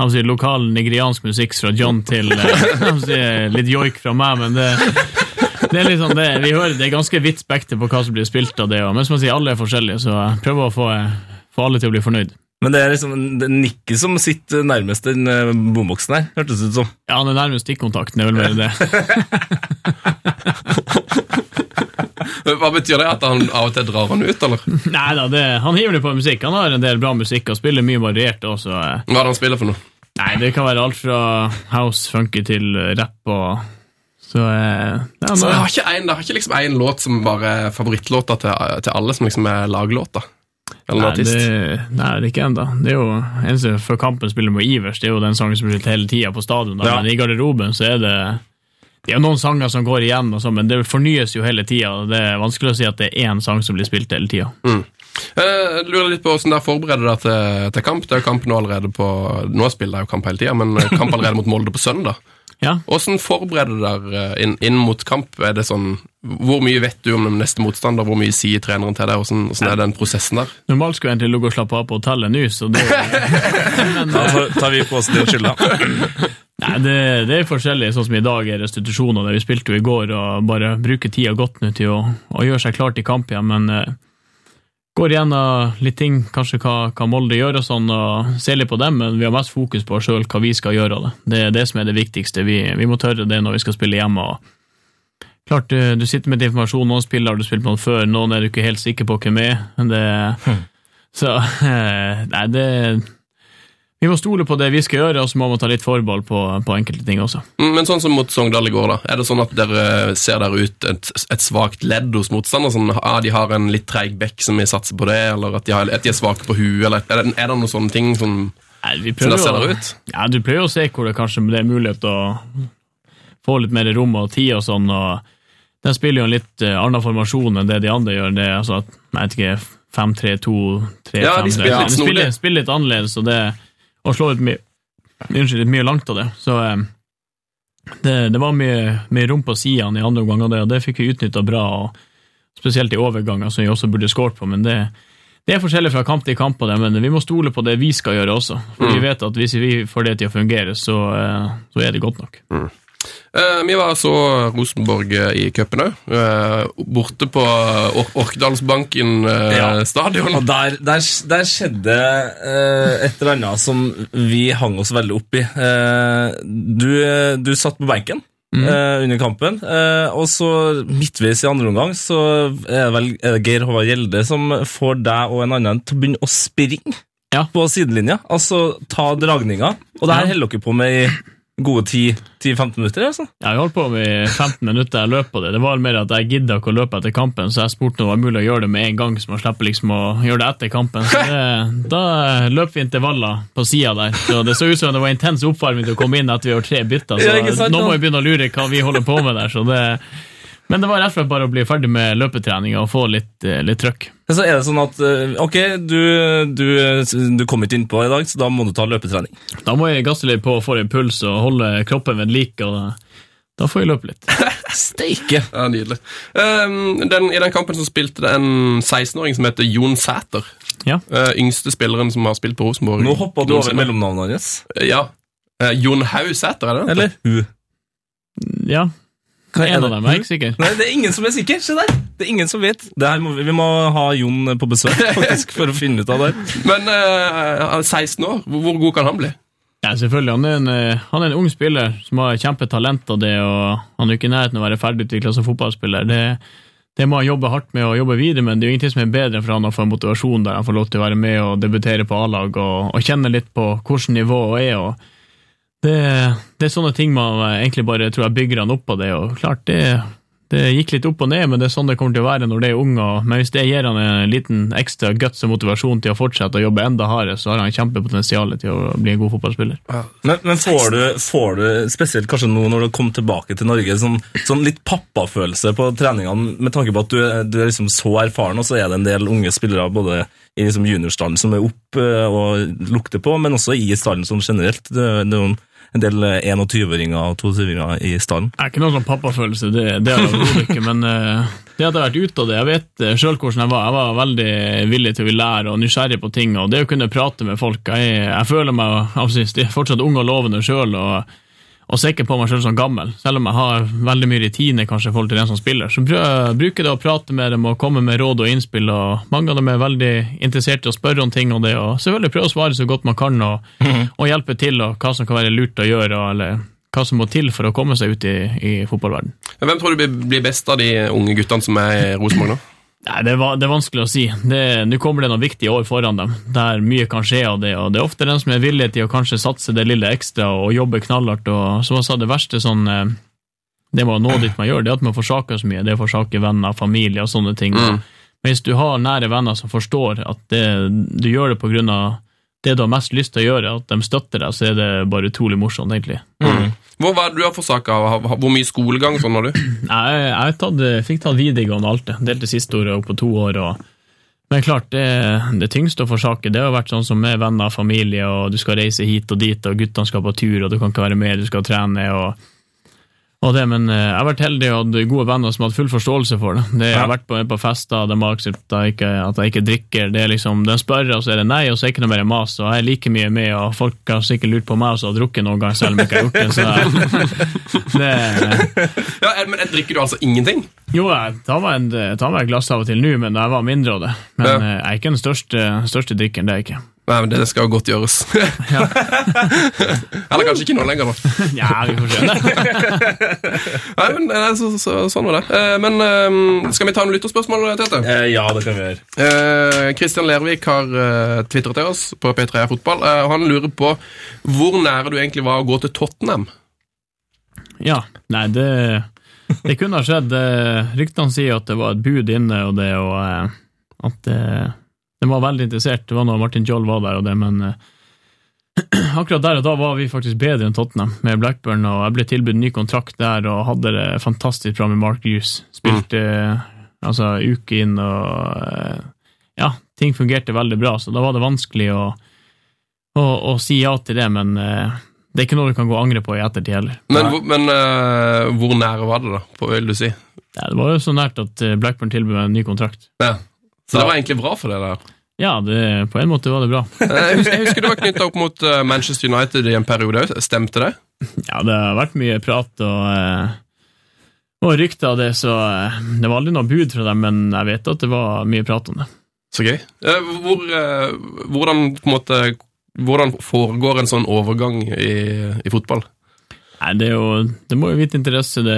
C: hva skal jeg si, lokal nigeriansk musikk fra John til eh, hva skal jeg si, litt joik fra meg, men det Det er litt sånn det, vi hører det er ganske vidt spekter på hva som blir spilt av det. og- Men som jeg sier, alle er forskjellige, så jeg prøver å få, få alle til å bli fornøyd.
B: Men det er liksom det er Nikki som sitter nærmest den eh, bomboksen her, hørtes det ut som.
C: Ja, han er nærmest stikkontakten, det er vel mer det.
F: Hva betyr det? At han av og til drar han ut, eller?
C: Nei da, det, han hiver det på musikk. Han har en del bra musikk og spiller mye variert også. eh.
F: Hva er det han spiller for noe?
C: Nei, det kan være alt fra house, funky til eh, rap og Så eh, ja,
F: Så Altså, jeg
C: nå,
F: har ikke en, det har ikke liksom en låt som bare er favorittlåta til, til alle, som liksom er laglåta. Eller en
C: Nei,
F: artist.
C: det, nei, det er ikke ennå. Det er jo eneste før kampen spiller med Ivers, det er jo den sangen som blir spilt hele tida på stadion. Da.
B: Ja.
C: Men i garderoben så er det Det er jo noen sanger som går igjen, og sånn, men det fornyes jo hele tida. og Det er vanskelig å si at det er én sang som blir spilt hele tida.
F: Eh, Jeg lurer litt på hvordan dere forbereder dere til, til kamp. Det er jo kamp nå allerede på Nå spiller jeg jo kamp hele tida, men eh, kamp allerede mot Molde på søndag.
C: Ja.
F: Hvordan forbereder dere dere inn, inn mot kamp? Er det sånn, Hvor mye vet du om den neste motstander? Hvor mye sier treneren til deg? Hvordan, hvordan er den prosessen der?
C: Normalt skulle jeg egentlig ligge og slappe av på hotellet nå, så det
B: Da tar- tar vi på oss den skylda.
C: Nei, det, det er forskjellig. Sånn som i dag er restitusjon, og det vi spilte jo i går, og bare bruke tida godt nå til å, å gjøre seg klar til kamp igjen, men eh, går igjennom litt ting, kanskje hva, hva Molde gjør og sånn, og ser litt på dem, men vi har mest fokus på oss sjøl, hva vi skal gjøre av det. Det er det som er det viktigste. Vi, vi må tørre det når vi skal spille hjemme. og Klart, du, du sitter med litt informasjon, noen spiller har du spilt med noen før, noen er du ikke helt sikker på hvem er. Det, Så eh, Nei, det vi må stole på det vi skal gjøre, og så må man ta litt forbehold på, på enkelte ting også.
F: Mm, Men sånn som mot Sogndal i går, da. Er det sånn at dere ser der ut et, et svakt ledd hos motstander? Sånn, ah, de har en litt treig bekk som vi satser på det, eller at de, har, at de er svake på huet, eller er det, er det noen sånne ting som
C: Nei, vi
F: Sånn
C: prøver
F: det ser
C: å-
F: det ut?
C: Ja, du pleier å se hvor det kanskje det er mulighet til å få litt mer rom og tid og sånn, og den spiller jo en litt eh, annen formasjon enn det de andre gjør. Det er altså at, jeg vet ikke, 5-3-2, 3-5-3.
F: Ja, de spiller litt
C: de
F: snodig.
C: spiller, spiller litt annerledes, og det og slår ut mye, unnskyld, litt mye langt av det. Så eh, det, det var mye, mye rom på sidene i andre omgang av det, og det fikk vi utnytta bra, og spesielt i overganger, som vi også burde skåret på, men det det er forskjellig fra kamp til kamp, og det, men vi må stole på det vi skal gjøre også. For
F: Mm.
C: Vi vet at hvis vi får det til å fungere, så, eh, så er det godt nok.
F: Eh, vi var så Rosenborg eh, i cupen òg. borte på Or Orkdalsbanken eh,
B: Ja.
F: stadion.
B: Og der, der, der skjedde eh, et eller annet som vi hang oss veldig opp i. Eh, du, du satt på benken
C: Mm.
B: eh, under kampen, eh, og så midtveis i andre omgang så er det vel er det Geir Håvard Gjelde som får deg og en annen til å begynne å springe
C: Ja.
B: på sidelinja. Altså ta dragninga, og det her holder dere på med i gode 10 10-15 minutter. altså.
C: Jeg holdt på med 15 minutter, jeg løp på det. Det var mer at jeg gidda ikke å løpe etter kampen, så jeg spurte om det var mulig å gjøre det med en gang, så man slipper liksom å gjøre det etter kampen. Så det, da løp vi intervaller på sida der. Så det så ut som det var intens oppvarming til å komme inn etter vi gjorde tre bytter, så
B: Ja, ikke sant,
C: nå må
B: ja.
C: vi begynne å lure hva vi holder på med der. Så det, men det var rett og slett bare å bli ferdig med løpetreninga og få litt, eh, litt trøkk.
B: Men Så er det sånn at eh, ok, du, du, du kom ikke innpå i dag, så da må du ta løpetrening.
C: Da må jeg gasse litt på for en puls og holde kroppen ved like. og da, da får jeg løpe litt.
B: Steike!
F: Ja, Nydelig. Eh, den, I den kampen så spilte det en 16-åring som heter Jon Sæter.
C: Ja.
F: Eh, yngste spilleren som har spilt på Rosenborg.
B: Nå hoppa du over
F: noensinne.
B: mellomnavnet hans.
F: Ja. Eh, Jon Haug Sæter, er det det?
B: Eller hun.
C: Ja,
B: Hva
C: En av dem er jeg ikke sikker.
B: Nei, det er ingen som er sikker. Se der! Det er ingen som vet. Det her må vi, vi må ha Jon på besøk faktisk, for å finne ut av det. her.
F: Men eh, han er 16 år, hvor, hvor god kan han bli?
C: Ja, selvfølgelig. Han er, en, eh, han er en ung spiller som har kjempetalent av det, og han er jo ikke i nærheten av å være ferdigutvikla som fotballspiller. Det, det må han jobbe hardt med og jobbe videre med. Det er jo ingenting som er bedre for han å få en motivasjon der han får lov til å være med og debutere på A-lag og, og kjenne litt på hvilket nivå han er. og det, det er sånne ting man eh, egentlig bare tror jeg bygger han opp på det, og klart det, det gikk litt opp og ned, men det er sånn det kommer til å være når det er ung, og, men hvis det gir han en liten ekstra guts og motivasjon til å fortsette å jobbe enda hardere, så har han kjempepotensial til å bli en god fotballspiller.
B: Men, men får, du, får du, spesielt kanskje nå når du kom tilbake til Norge, sånn, sånn litt pappafølelse på treningene, med tanke på at du, er- du er liksom så erfaren, og så er det en del unge spillere både i liksom juniorstallen som er opp eh, og lukter på, men også i stallen som generelt. Det er noen, en del eh, 21-åringer og 22-åringer i stallen.
C: Det er ikke noe sånn pappafølelse, det, det er det overhodet ikke, men eh, det at jeg har vært ute av det Jeg vet eh, selv hvordan jeg var. Jeg var veldig villig til å lære og nysgjerrig på ting, og det å kunne prate med folk Jeg, jeg føler meg jeg synes, jeg er fortsatt ung og lovende sjøl, og, og sikker på meg sjøl som gammel. Selv om jeg har veldig mye rutine kanskje i forhold til den som spiller, så prøver jeg å bruke det å prate med dem og komme med råd og innspill, og mange av dem er veldig interessert i å spørre om ting og det, og selvfølgelig prøve å svare så godt man kan, og, og hjelpe til, og hva som kan være lurt å gjøre, og- eller hva som må til for å komme seg ut i, i fotballverden.
F: Hvem tror du blir- blir best av de unge guttene som er i Rosenborg nå?
C: Nei, det, er va- det er vanskelig å si. Det- Nå kommer det noen viktige år foran dem, der mye kan skje av det. og Det er ofte den som er villig til å kanskje satse det lille ekstra og jobbe knallhardt. og Som jeg sa, det verste sånn eh, Det med å nå dit man gjør, det er at man forsaker så mye. Det er å forsake venner, familie og sånne ting.
F: Mm.
C: Men hvis du har nære venner som forstår at det, du gjør det på grunn av det du har mest lyst til å gjøre, at de støtter deg, så er det bare utrolig morsomt, egentlig.
F: Hvor, hva er det du har forsaka? Hvor mye skolegang og sånn har du?
C: Nei, jeg har tatt, fikk tatt videregående og alt det. Delte siste året opp på to år. Og, men klart, det, det tyngste å forsake det har vært sånn som med venner og familie, og du skal reise hit og dit, og guttene skal på tur, og du kan ikke være med, du skal trene. og Og det, men eh, jeg har vært heldig og hatt gode venner som har hatt full forståelse for det. det jeg har
B: Ja.
C: vært på, på fester, de har akseptert at jeg ikke- at jeg ikke drikker. Det er liksom, De spør, og så er det nei, og så er det ikke noe mer mas. Og jeg er like mye med, og folk har sikkert lurt på meg også, og drukket noen gang, selv om jeg ikke har gjort det. Så det
F: Ja, eh, men eh, drikker du altså ingenting?
C: jo, jeg tar meg, en, jeg tar meg et glass av og til nå, men da jeg var mindre av det. Men
F: Ja.
C: eh, jeg er ikke den største, største drikkeren, det er jeg ikke.
F: Nei, men det skal jo godt gjøres. Eller kanskje ikke nå lenger, da.
C: Ja, vi får se.
F: Nei, men eh, så, så, Sånn var det. Eh, Men eh, skal vi ta noen lytterspørsmål, Tete?
B: Eh, ja, det kan vi gjøre.
F: Eh, Kristian Lervik har uh, tvitret til oss på P3 Fotball, eh, og han lurer på hvor nære du egentlig var å gå til Tottenham.
C: Ja, nei, det, det kunne ha skjedd. Eh, Ryktene sier at det var et bud inne, og det og eh, at eh, de var veldig interessert. Det var når Martin Joll var der, og det, men eh, akkurat der og da var vi faktisk bedre enn Tottenham med Blackburn, og jeg ble tilbudt ny kontrakt der og hadde det fantastisk bra med Mark Hughes. Spilte eh, altså uke inn og eh, Ja, ting fungerte veldig bra, så da var det vanskelig å, å, å si ja til det, men eh, det er ikke noe du kan gå og angre på i ettertid heller.
F: Men, hvor- men eh, hvor nære var det, da? På, vil du si?
C: Ja, det var jo så nært at eh, Blackburn tilbød meg en ny kontrakt.
F: Ja. Så det var egentlig bra for deg, det der.
C: Ja, det, på en måte var det bra.
F: Eh, Jeg husker, jeg husker det var knytta opp mot eh, Manchester United i en periode òg. Stemte det?
C: Ja, det har vært mye prat og, eh, og rykter av det, så eh, det var aldri noe bud fra dem, men jeg vet at det var mye prat om det.
F: Så gøy. Eh, Hvor, eh, hvordan, på en måte, hvordan foregår en sånn overgang i, i fotball?
C: Nei, det er jo Det må jo vite interesse, det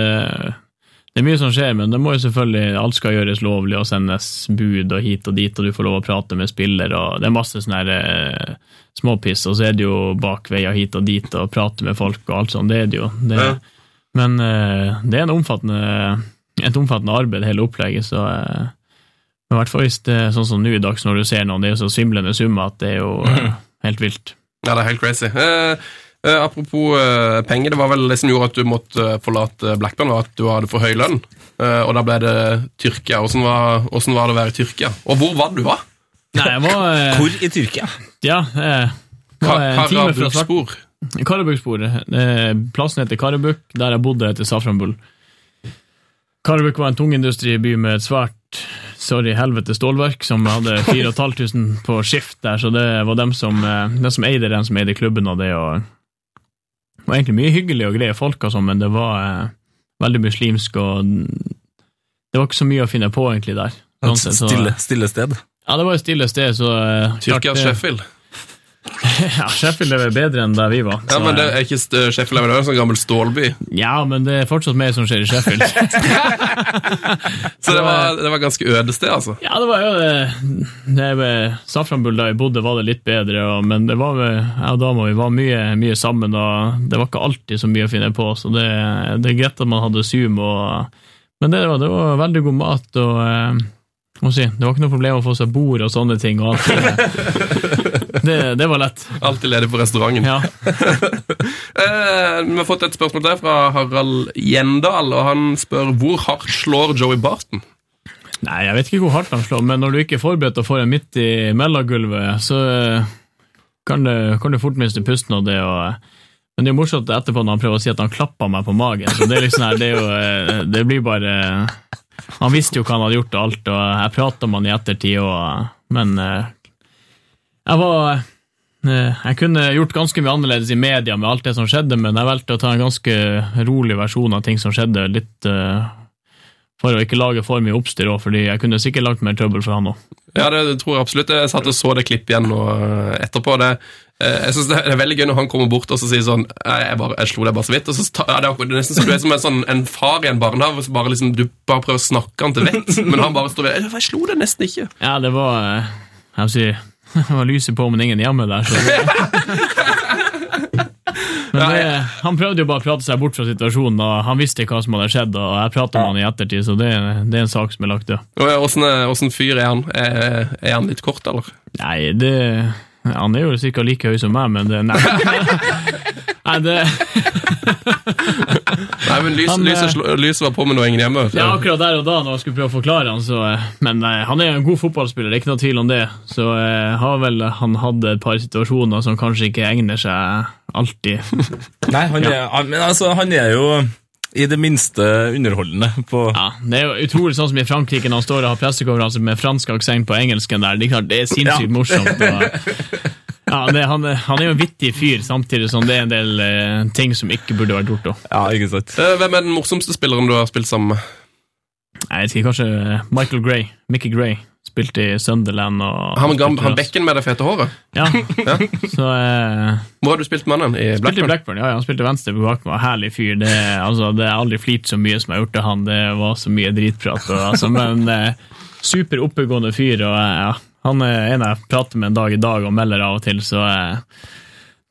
C: det er mye som skjer, men det må jo selvfølgelig, alt skal gjøres lovlig og sendes bud og hit og dit, og du får lov å prate med spiller, og det er masse sånne her, eh, småpiss, og så er det jo bakveier hit og dit og prate med folk og alt sånt, det er det jo. Det,
F: Ja.
C: Men eh, det er en omfattende, et omfattende arbeid, hele opplegget, så eh, men i hvert fall hvis det er sånn som nå i dags når du ser noen, det er jo så svimlende summer at det er jo eh, helt vilt.
F: Ja, det er helt crazy. Eh, eh, apropos eh, penger, det var vel det som gjorde at du måtte eh, forlate Blackburn, var at du hadde for høy lønn. Eh, og da ble det Tyrkia. Åssen var, hvordan var det å være i Tyrkia? Og hvor var det du var?
C: Nei, jeg var, eh,
B: Hvor i Tyrkia?
C: ja, eh,
F: Ka
C: var en time fra start.
F: Karabukspor.
C: Karabuksporet. Eh, Plassen heter Karabuk, der jeg bodde heter Safranbull. Karabuk var en tungindustriby med et svært sorry helvete stålverk som hadde 4500 på skift der, så det var dem som, eh, dem som eide den som eide klubben og det. Og, det var egentlig mye hyggelige og greie folk, og sånn, men det var eh, veldig muslimsk, og det var ikke så mye å finne på egentlig der. Sånn
B: Et
C: sett, så-
B: stille, stille sted.
C: Ja, det var et stille sted, så eh,
F: Tyrkia
C: klart det-
F: Sheffield.
C: Ja, Sheffield er vel bedre enn der vi var. så,
F: Ja, men det
C: eh,
F: er ikke st- Sheffield, men det er en sånn gammel stålby.
C: Ja, men det er fortsatt mer som skjer i Sheffield.
F: Så det var, det var ganske øde sted, altså.
C: ja, det var jo det. det med Safranbull da jeg bodde, var det litt bedre, og, men det var, vel- jeg og dama vi var mye, mye sammen, og det var ikke alltid så mye å finne på, så det, det er greit at man hadde Zoom. Og, men det var, det var veldig god mat, og eh, hva skal jeg si, det var ikke noe problem å få seg bord og sånne ting. Og alt, det, det, det var lett.
F: Alltid ledig på restauranten.
C: Ja.
F: Eh, vi har fått et spørsmål der fra Harald Gjendal, og han spør hvor hardt slår Joey Barton?
C: Nei, jeg vet ikke hvor hardt han slår, men når du ikke er forberedt og får en midt i mellomgulvet, så eh, kan du, kan du fort miste pusten av det. Og, eh, men det er jo morsomt etterpå når han prøver å si at han klappa meg på magen. Så det er liksom her, det er jo eh, Det blir bare eh, Han visste jo hva han hadde gjort og alt, og jeg prata om han i ettertid, og, eh, men eh, jeg var Eh, Jeg kunne gjort ganske mye annerledes i media med alt det som skjedde, men jeg valgte å ta en ganske rolig versjon av ting som skjedde, litt eh, for å ikke lage for mye oppstyr òg, fordi jeg kunne sikkert lagt mer trøbbel for han òg.
F: Ja, det tror jeg absolutt. Jeg satt og så det klippet igjen nå eh, etterpå. Det, eh, jeg synes det er veldig gøy når han kommer bort og så sier sånn «Nei, jeg, bare, jeg slo deg bare så vidt. Og så ta, ja, det, er, akkurat- det er nesten som du er som en, sånn, en far i en barnehage som bare liksom, du bare prøver å snakke han til vett, men han bare står ved «Jeg slo deg nesten ikke.
C: Ja, det var eh, Jeg vil si det var lyset på, men ingen hjemme der, så det. Men det, han prøvde jo bare å prate seg bort fra situasjonen, og han visste hva som hadde skjedd, og jeg pratet med han i ettertid, så det, det er en sak som er lagt død.
F: Og, eh, Hvordan, eh, hvordan fyr er han? Er, er han litt kort, eller?
C: Nei, det Han er jo sikkert like høy som meg, men det Nei. nei det,
F: Nei, men lys,
C: Han, eh,
F: lyset, slo- lyset var på, men det var ingen hjemme.
C: ja, akkurat der og da, når jeg skulle prøve å forklare han, så eh, Men nei, han er jo en god fotballspiller, det er ikke noe tvil om det. Så eh, har vel han hatt et par situasjoner som kanskje ikke egner seg alltid.
B: Nei, han, er, han, men altså, han er jo i det minste underholdende. På,
C: Ja, Det er jo utrolig sånn som i Frankrike når han står og har pressekonferanse med fransk aksent på engelsken. der, Det er klart, det er sinnssykt morsomt. Og, ja, det, han, er- han er jo en vittig fyr, samtidig som det er en del eh, ting som ikke burde vært gjort. Da.
B: ja, ikke sant?
F: Eh, Hvem er den morsomste spilleren du har spilt sammen med?
C: Nei, Jeg vet ikke, kanskje eh, Michael Gray, Mickey Gray, spilte i Sunderland. og...
F: Han, han,
C: spilte
F: han
C: i Ross.
F: bekken med det fete håret?
C: Ja, så... eh,
F: Hvor har du spilt mannen? I
C: Spilte i
F: Blackburn?
C: Blackburn, ja, ja, han spilte venstre på bak meg. Herlig fyr. Det, altså, det er aldri flirt så mye som jeg har gjort til han. Det var så mye dritprat. Og, altså, men eh, super oppegående fyr. Og, eh, ja, han er en jeg prater med en dag i dag og melder av og til, så eh,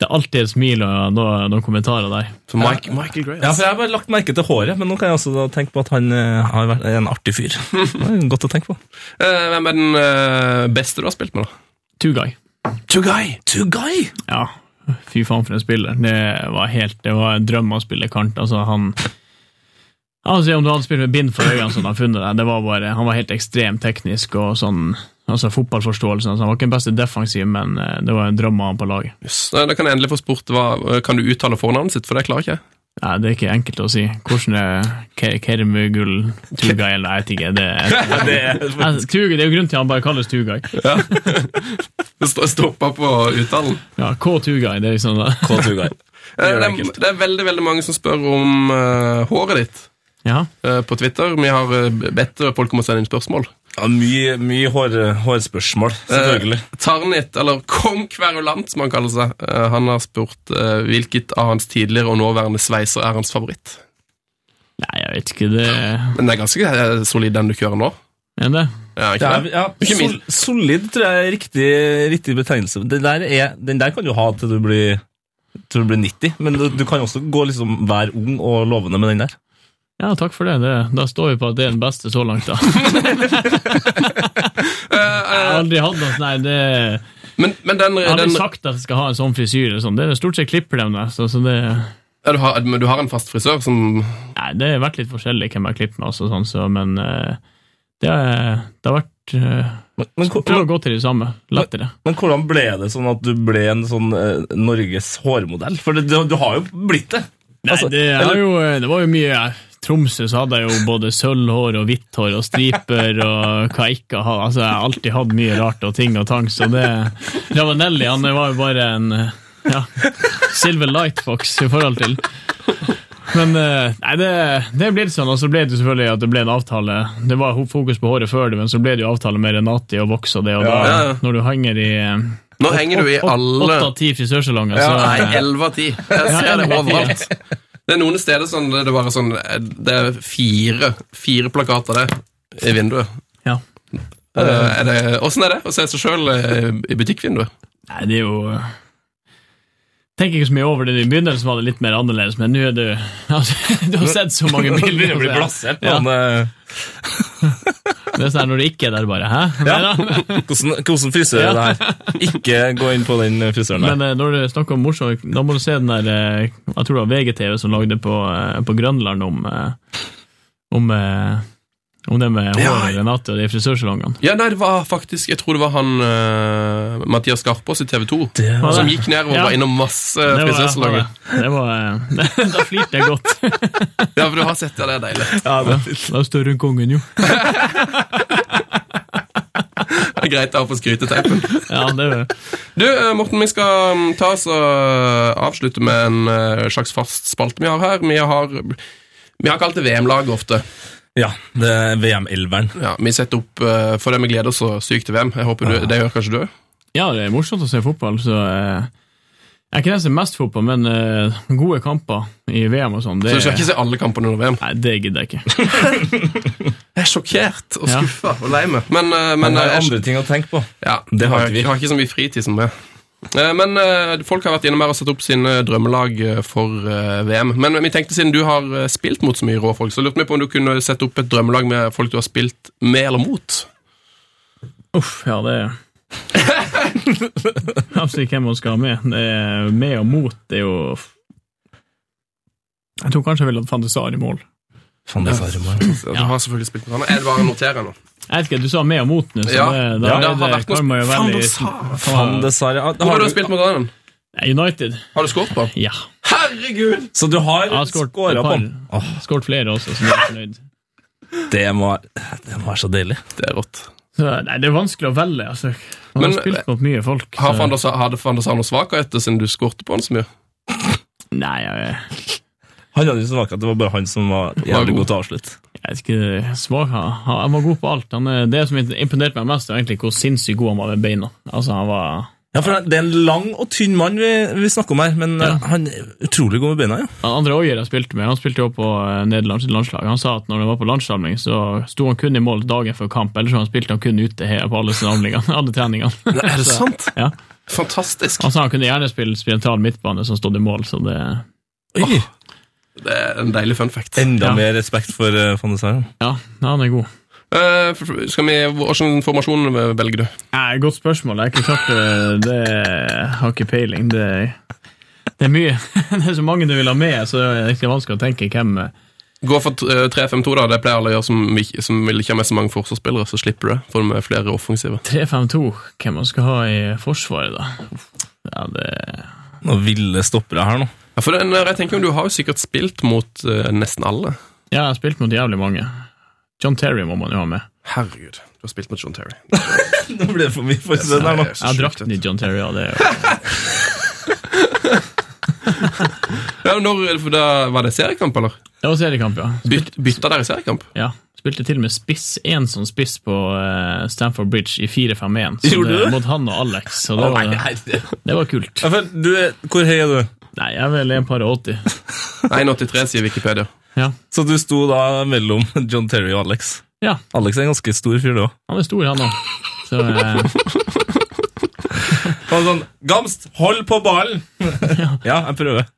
C: det er alltid et smil og noen, noen kommentarer der.
F: Så Mike, Michael Gray.
B: Ja, for Jeg har bare lagt merke til håret, men nå kan jeg også da tenke på at han eh, har vært en artig fyr. Det er godt å tenke på.
F: Eh, Hvem er den eh, beste du har spilt med, da?
C: Tugay.
F: Tugay.
B: Tugay!
C: Ja, fy faen for en spiller. Det var helt, det var en drøm å spille kant. Altså, han Altså, om du hadde spilt med bind for øynene som han funnet deg, det var bare, han var helt ekstremt teknisk og sånn, altså fotballforståelse. Altså, han var ikke den beste defensiv, men eh, det var en drøm å ha han på laget.
F: Yes. Eh, Da kan jeg endelig få spurt hva, eh, Kan du uttale fornavnet sitt, for det klarer ikke jeg.
C: Nei, det er ikke enkelt å si. Hvordan er Ke- Kerimugul Tugay, eller jeg vet ikke. Det, er-
B: Ja, det er
C: Altså, Tugay, det er jo grunnen til at han bare kalles Tugay.
F: Det sto- stoppa på uttalen.
C: Ja, K. Tugay, det er liksom
B: K. Tugay.
F: Eh, Det er,
B: enkelt.
F: det er veldig veldig mange som spør om eh, håret ditt
C: Ja.
F: eh, på Twitter. Vi har eh, bedt folk om å sende inn spørsmål.
B: Ja, mye mye hår, hårspørsmål, selvfølgelig.
F: Eh, Tarnit, eller Kong Kverulant, som han kaller seg, eh, han har spurt eh, hvilket av hans tidligere og nåværende sveiser er hans favoritt.
C: Nei, jeg vet ikke. Det
F: Men det er ganske eh, solid den du kjører nå.
C: er det.
F: Ja,
B: Det
F: ikke
B: er,
F: det?
B: ja,
F: Ikke
B: sol,
F: minst.
B: solid tror jeg er riktig, riktig betegnelse. Den der, er, den der kan du ha til du blir, til du blir 90, men du, du kan også gå liksom være ung og lovende med den der.
C: Ja, takk for det. det. Da står vi på at det er den beste så langt, da. Jeg har aldri hatt noe sånn, nei, det
F: Men, men den,
C: Jeg har aldri
F: den
C: sagt at jeg skal ha en sånn frisyre. Sånn. Det er stort sett klipper dem, da. Så, så det,
F: ja, du, har, men du har en fast frisør som
C: nei, det har vært litt forskjellig hvem jeg klipper med, også, sånn, så, men eh, det, har- det har vært eh,
B: Men, men, hvor-
C: Prøv å gå til de samme. Lettere.
B: men hvordan ble det sånn at du ble en sånn eh, Norges hårmodell? For det, du, du har jo blitt det.
C: Nei,
B: Altså,
C: det, er
B: eller-
C: jo, eh, det var jo mye jeg- Tromsø så hadde jeg jo både sølvhår og hvitt hår og striper og hva jeg ikke hadde. Altså, jeg har alltid hatt mye rart og ting og tang, så det Ravanelli han var jo bare en ja, Silver Lightfox i forhold til. Men eh, nei, det, det ble litt sånn, og så ble det jo selvfølgelig at det ble en avtale. Det var ho- fokus på håret før det, men så ble det jo avtale med Renati og Vox og det, og da,
F: Ja, ja.
C: når du henger i eh,
F: Nå henger du i alle
C: åtte av ti frisørsalonger,
F: ja,
C: så eh,
F: Nei, elleve av ti. Jeg ser det
C: elleve av ti.
F: overalt. Det er noen steder sånn, det er bare sånn eh, Det er fire, fire plakater det, i vinduet.
C: ja.
F: Eh, er det, hvordan er det å se seg sjøl i butikkvinduet?
C: Nei, det er jo eh, Tenker ikke så mye over det. I begynnelsen var det litt mer annerledes, men nå er det altså, Du har sett så mange
B: Det
C: bilder.
B: begynner å bli
C: altså, ja.
B: plassert.
C: Ja.
B: men, eh,
C: Det er sånn her når det ikke er der, bare. Hæ? Neida.
B: hvordan, hvordan frisør er det her? Ikke gå inn på den frisøren der.
C: Men eh, når du snakker om morsomt, da må du se den der eh, Jeg tror det var VGTV som lagde på, eh, på Grønland om eh, om, eh, om det med
F: Ja.
C: håret Renate og de frisørsalongene.
F: Ja, nei, det var faktisk Jeg tror det var han eh, Mathias Skarpaas i TV 2
C: var
F: som
C: det.
F: gikk nedover og
C: Ja.
F: var innom masse
C: Det var,
F: frisørsalonger.
C: det var, eh, da flirte jeg godt.
F: Ja, for du har sett det, det er deilig.
C: Da er større enn kongen, jo.
F: Det er greit å ha på skryteteipen.
C: Ja, det er jo
F: Du, eh, Morten, vi skal mm, ta oss og avslutte med en eh, slags fast spalte vi har her. Vi har, vi har kalt det VM-laget ofte.
B: Ja, det er VM-elveren.
F: Ja, vi setter opp eh, for det vi gleder oss så sykt til VM. Jeg håper du, Det gjør kanskje du?
C: Ja, det er morsomt å se fotball, så eh, Jeg er ikke den som ser mest fotball, men eh, gode kamper i VM og sånn, det,
F: Så du skal ikke se alle kampene under VM?
C: Nei, det gidder jeg ikke.
F: Jeg er sjokkert og
C: Ja.
F: skuffa og lei meg. Men, eh, men
B: Men det
F: eh,
B: er
F: jeg-
B: andre ting å tenke på.
F: Ja,
B: Det har
F: jeg
B: ikke vi.
F: Jeg har ikke så mye fritid som det. Eh, Men eh, folk har vært innom her og satt opp sine drømmelag eh, for eh, VM. Men vi tenkte siden du har eh, spilt mot så mye rå folk, så lurte vi på om du kunne sette opp et drømmelag med folk du har spilt med eller mot.
C: Uff, ja, det Absolutt hvem man skal ha med. Det er med og mot det er jo Jeg tror kanskje jeg ville hatt Fantesar i mål.
B: Faen, det er farlig,
F: Så altså, Du har selvfølgelig spilt mot han. Jeg bare noterer nå.
C: Jeg vet ikke, Du sa med og mot nå, så
F: Ja.
C: det, da
F: Ja,
C: er
F: det har
C: det,
F: vært noe-
C: kan man jo
F: Fan,
C: veldig
F: det sa-
B: Faen, det er Sara.
F: Hvor
B: Har
F: har du
B: du-
F: spilt mot han?
C: United.
F: Har du skåret på han?
C: Ja.
F: Herregud!
B: Så du har
C: Jeg har skåret
B: skåra
C: et
B: på
C: par.
B: den? Åh,
C: Skåret flere også, så jeg er fornøyd.
B: det, må, det må være så deilig.
F: Det er rått.
C: Så, nei, det er vanskelig å velge, altså. Man
F: Men-
C: har spilt mot mye folk.
F: Har
C: så-
F: Van der Sar- Hadde Van der Sar noen svakheter siden du skårte på han så mye?
C: Nei, jeg,
B: Han hadde jo så vakt at det var bare han som var jævlig god
F: god.
B: til å avslutte.
C: jeg vet ikke svak, han, han han var god på alt. Han, er- det som imponerte meg mest, var egentlig hvor sinnssykt god han var med beina. Altså, han var...
B: Ja, for Det er en lang og tynn mann vi, vi snakker om her, men
C: Ja.
B: eh, han er utrolig god med beina. ja.
C: Han Andre Oier jeg spilte med, han spilte jo på eh, Nederlands landslag. Han sa at når han var på landssamling, så sto han kun i mål dagen før kamp, ellers så han spilte han kun ute her på alle samlingene, alle treningene.
F: Nei, er det sant?
C: Ja.
F: Fantastisk.
C: Han sa han kunne gjerne spille spiral midtbane som stod i mål, så det
B: Oi,
F: Det er en deilig fun fact.
B: Enda
C: Ja.
B: mer respekt for uh, Van de Saren.
C: Ja, han er god.
F: Eh, f- skal vi, Hvilken formasjon velger du?
C: Nei, godt spørsmål. Jeg har ikke klart det. det har ikke peiling. Det, det er mye. Det er så mange du vil ha med, så det er ikke vanskelig å tenke hvem
F: Gå for t- eh, 3-5-2, da. Det pleier alle å gjøre som, ikke- som vil ikke ha med så mange forsvarsspillere. Så slipper du det, for de er flere offensive.
C: 3-5-2 hvem man skal ha i Forsvaret, da. Uff, Ja, det
B: Noen ville stoppere her nå.
F: Ja, for den, eh, jeg tenker om Du har jo sikkert spilt mot eh, nesten alle.
C: Ja, jeg har spilt mot jævlig mange. John Terry må man jo ha med.
F: Herregud, du har spilt mot John Terry.
B: Nå ble det for mye for den her nå.
F: Det er så
C: Jeg har
F: sjukt,
C: drakten
F: vet
C: i John Terry, ja. Det er jo.
F: du. Ja, når, for da Var det seriekamp, eller?
C: Det var seriekamp, ja.
F: Byt, bytta dere seriekamp?
C: ja. Spilte til og med spiss, én sånn spiss på eh, Stamford Bridge i 4-5-1. Så
B: Gjorde du
C: det-
B: det?
C: Mot han og Alex, så det var, det var kult.
B: Ja, for du er, hvor høy er du?
C: Nei, jeg er vel en par og 80.
F: 1,83 sier Wikipedia.
C: Ja.
B: Så du sto da mellom John Terry og Alex.
C: ja.
B: Alex er en ganske stor fyr, det òg.
C: Han er stor, han òg. Så eh,
B: Sånn, Gamst, hold på ballen! ja, jeg prøver.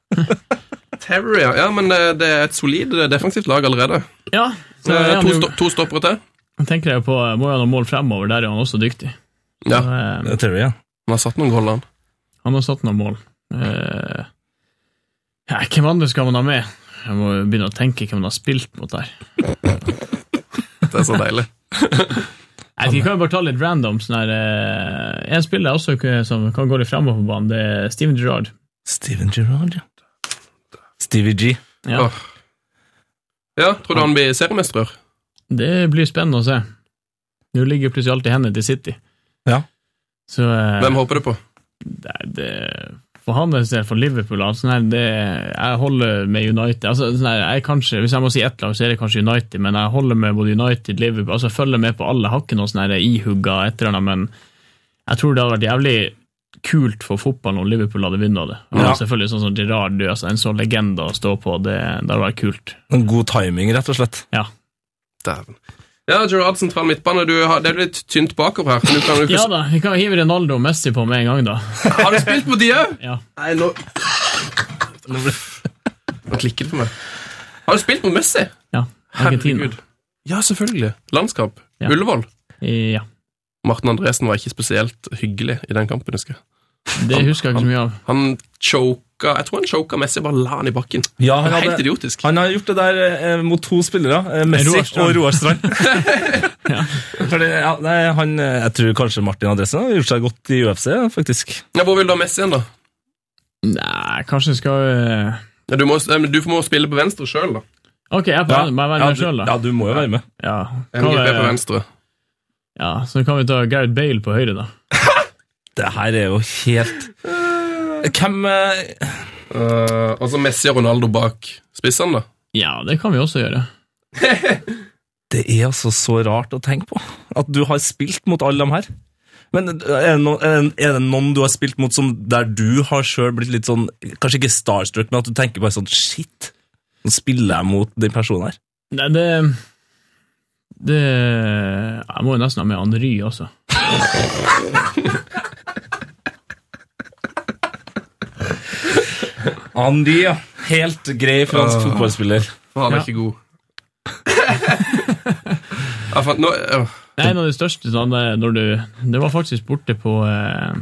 F: Terry, ja. ja men eh, det, det er et solid defensivt lag allerede.
C: ja. Så er
F: Eh,
C: han
F: to,
C: jo,
F: sto, to stoppere til.
C: tenker jeg på, eh, Må jo ha noen mål fremover, der er han også dyktig.
F: Ja,
C: Så, eh,
B: Det er Terry, ja.
F: han har satt noen goller, han.
C: han har satt noen mål. Eh, ja, hvem andre skal man ha med? Jeg må jo begynne å tenke hvem man har spilt mot der.
F: Det er så deilig.
C: Jeg vet ikke, kan jo bare ta litt random. sånn her, eh, En spiller jeg også k- som kan gå litt fremover på banen, det er Steven Gerrard.
B: Steven Gerrard, ja. Stevie G.
C: Ja,
F: Åh. Ja, Tror du han blir seriemester? i år?
C: det blir spennende å se. Nå ligger jo plutselig alt i hendene til City.
B: Ja.
C: Så, eh,
F: Hvem håper du på?
C: Nei, det, for hans del, for Liverpool altså, nei, det, Jeg holder med United. Altså, sånn her, jeg kanskje, hvis jeg må si ett lag, så er det kanskje United, men jeg holder med både United Liverpool. Altså, jeg følger med på alle. Jeg har ikke noe sånn her ihugga et eller annet, men jeg tror det hadde vært jævlig kult for fotballen om Liverpool hadde vunnet det. Og
B: Ja.
C: Selvfølgelig sånn som Gerard du, altså, en sånn legende å stå på, det, det hadde vært kult.
B: En god timing, rett og slett.
C: Ja.
F: Dæven. Ja, Gerard sentral midtbane. Du har, det er litt tynt bakover her. men Du kan, jo ikke-
C: ja da, vi kan hive Ronaldo og Messi på med en gang, da.
F: Har du spilt på de òg?
C: Ja.
F: Nei, nå Nå klikker det for meg. Har du spilt mot Messi?
C: Ja, Argentina.
F: Herregud. Ja, selvfølgelig. Landskamp.
C: Ja.
F: Ullevål.
C: Ja.
F: Martin Andresen var ikke spesielt hyggelig i den kampen, husker jeg.
C: Det husker jeg ikke så mye av.
F: Han choka Jeg tror han choka Messi, bare la han i bakken.
B: Ja, han,
F: Det er helt
B: hadde,
F: idiotisk.
B: han har gjort det der eh, mot to spillere, eh, Messi
C: Roar Strand.
B: og Roar Strand. Fordi, ja, nei, han, eh, jeg tror kanskje Martin Andresen har gjort seg godt i UFC, faktisk.
F: Ja, hvor vil du ha Messi hen, da?
C: Nei, kanskje skal eh,
F: Ja, du, må, eh, men du må spille på venstre sjøl, da.
C: Ok, jeg er på, må jeg være
B: ja,
C: med
B: du,
C: sjøl, da.
B: ja, du må jo være med.
C: Ja. Kan
F: MGP på
C: vi,
F: venstre.
C: ja, så kan vi ta Gareth Bale på høyre, da.
B: Det her er jo helt Hvem eh,
F: Eh, og så Messi og Ronaldo bak spissene, da.
C: Ja, det kan vi også gjøre.
B: Det er altså så rart å tenke på. At du har spilt mot alle dem her. Men eh, er det, no, er det- er det noen du har spilt mot som der du har sjøl blitt litt sånn Kanskje ikke starstruck, men at du tenker bare sånn Shit, nå spiller jeg mot den personen her.
C: Nei, det Det Jeg må jo nesten ha med Andry også.
B: Andy, ja. Helt grei fransk
F: Ah.
B: fotballspiller.
F: For han er
C: Ja.
F: ikke god. ja, for, nå, øh,
C: Det er en av de største sånne når du Det var faktisk borte på eh,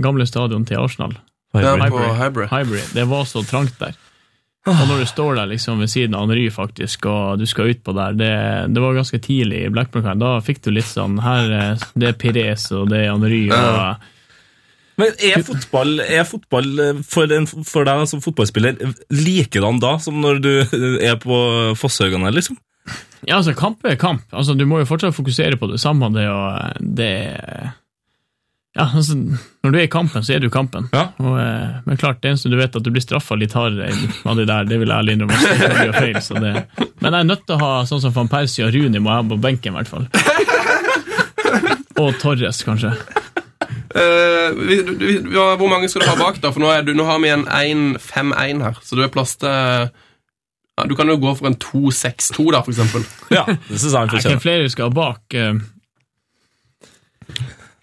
C: gamle stadion til Arsenal.
F: det er
B: Highbury.
F: på Hybrid.
C: Highbury. Det var så trangt der. Og når du står der liksom ved siden av Andry, faktisk, og du skal utpå der det, det var ganske tidlig i Blackburn. Da fikk du litt sånn her eh, Det er Pires, og det er Andry, og
B: Men er fotball, er fotball eh, for, en, for deg som fotballspiller likedan da som når du eh, er på Fosshaugan her, liksom?
C: Ja, altså, kamp er kamp. Altså, du må jo fortsatt fokusere på det samme, det å det, Ja, altså, når du er i kampen, så er du i kampen.
B: Ja.
C: Og, eh, men klart, det eneste du vet, er at du blir straffa litt hardere enn hva det der, det vil jeg ærlig innrømme. også, for det er feil, så det, men jeg er nødt til å ha sånn som van Persie og Rooney må jeg ha på benken, i hvert fall. Og Torres, kanskje.
F: Eh, vi, vi, vi, ja, hvor mange skal du ha bak, da? For nå, er du, nå har vi en 1-5-1 her, så det er plass til ja, Du kan jo gå for en 2-6-2, da, for eksempel.
B: Ja, det synes jeg han
C: Jeg kan
B: fortjener.
C: flere vi skal ha bak. eh,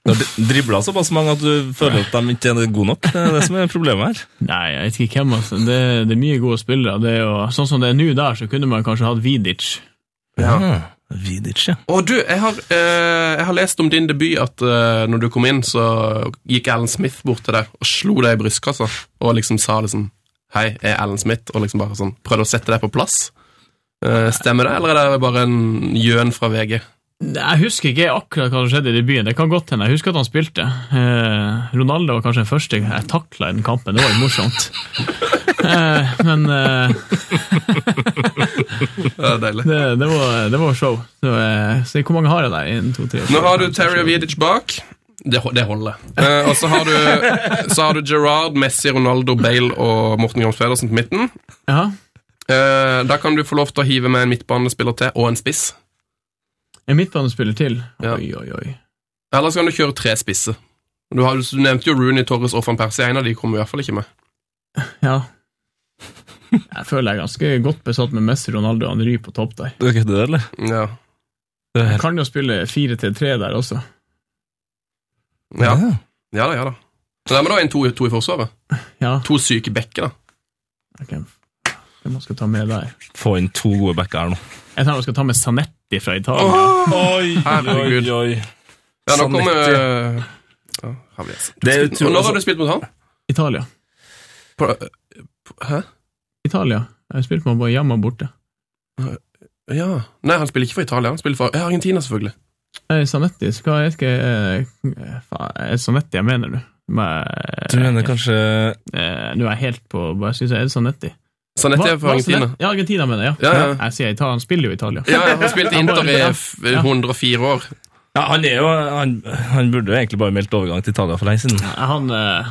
B: Du har dribla såpass mange at du føler at de ikke er gode nok. Det er det som er problemet her.
C: Nei, jeg vet ikke hvem. Altså. Det, det er mye gode spillere. Det er jo, sånn som det er nå der, så kunne man kanskje hatt Vidic.
B: Ja. Vidic, ja.
F: Og du, jeg har, eh, jeg har lest om din debut at eh, når du kom inn, så gikk Alan Smith bort til deg og slo deg i brystkassa og liksom sa liksom Hei, jeg er Alan Smith, og liksom bare sånn prøvde å sette deg på plass. Eh, stemmer det, eller er det bare en gjøn fra VG?
C: Jeg husker ikke akkurat hva som skjedde i debuten. Det kan godt hende. Jeg husker at han spilte. Eh, Ronaldo var kanskje den første jeg takla i den kampen. Det var jo morsomt. Eh, men eh,
F: Det er deilig.
C: det, det, var, det var show. Så, eh, så hvor mange har jeg der? En, to, tre,
F: Nå
C: fire,
F: har
C: fem,
F: du
C: seks,
F: Terry
C: sju.
F: og Vidic bak. Det, ho- det holder. Eh, og så har, du, så har du Gerard, Messi, Ronaldo, Bale og Morten Grams Pedersen på midten.
C: Ja.
F: Eh, da kan du få lov til å hive med en midtbanespiller til og en spiss.
C: En midtbanespiller til.
F: Ja.
C: Oi, oi, oi.
F: Eller så kan du kjøre tre spisser. Du, har, du nevnte jo Rooney, Torres og van Persie. En av de kommer i hvert fall ikke med.
C: Ja. Jeg føler jeg er ganske godt besatt med Messi, Ronaldo og Henry på topp der.
B: Du kødder, eller?
F: Ja.
B: Det er
C: Jeg
B: helt...
C: kan jo spille 4-3 der også.
F: Ja, ja da, ja da. Så dermed da en to, to i forsvaret.
C: Ja,
F: To syke bekker, da.
C: ok. Hvem man skal ta med der?
B: Få inn to gode backer her nå.
C: Jeg tror man skal ta med Sanetti fra Italia.
B: Oi,
F: Herregud.
B: oi.
F: Ja, nå
B: Sånn
F: kommer
B: riktig.
F: eh, ja, har vi det.
B: Det er
F: Og
B: utro...
F: når har du spilt mot han?
C: Italia.
F: På, eh, på, hæ?
C: Italia. Jeg har spilt med bare hjemme og borte.
F: Ja. Nei, han spiller ikke for Italia. Han spiller for ja, Argentina, selvfølgelig.
C: Nei, Sanetti Eh, skal jeg ikke eh, Faen, er det Sanetti jeg mener, du? Men-
B: Du mener kanskje
C: eh, Nå er jeg helt på Hva syns jeg? Er det Sanetti?
F: Sanetti er for
C: Hva- hva Zanetti?
F: Argentina.
C: Ja, Argentina mener jeg.
F: Ja, ja.
C: Jeg sier Italia. Han spiller jo i Italia.
F: Ja, ja, han spilte
C: Han
F: Inter
C: bare-
F: i
C: ja.
F: f- 104 år.
B: Ja, han er jo Han, han burde jo egentlig bare meldt overgang til Italia for lenge siden.
C: Han, eh,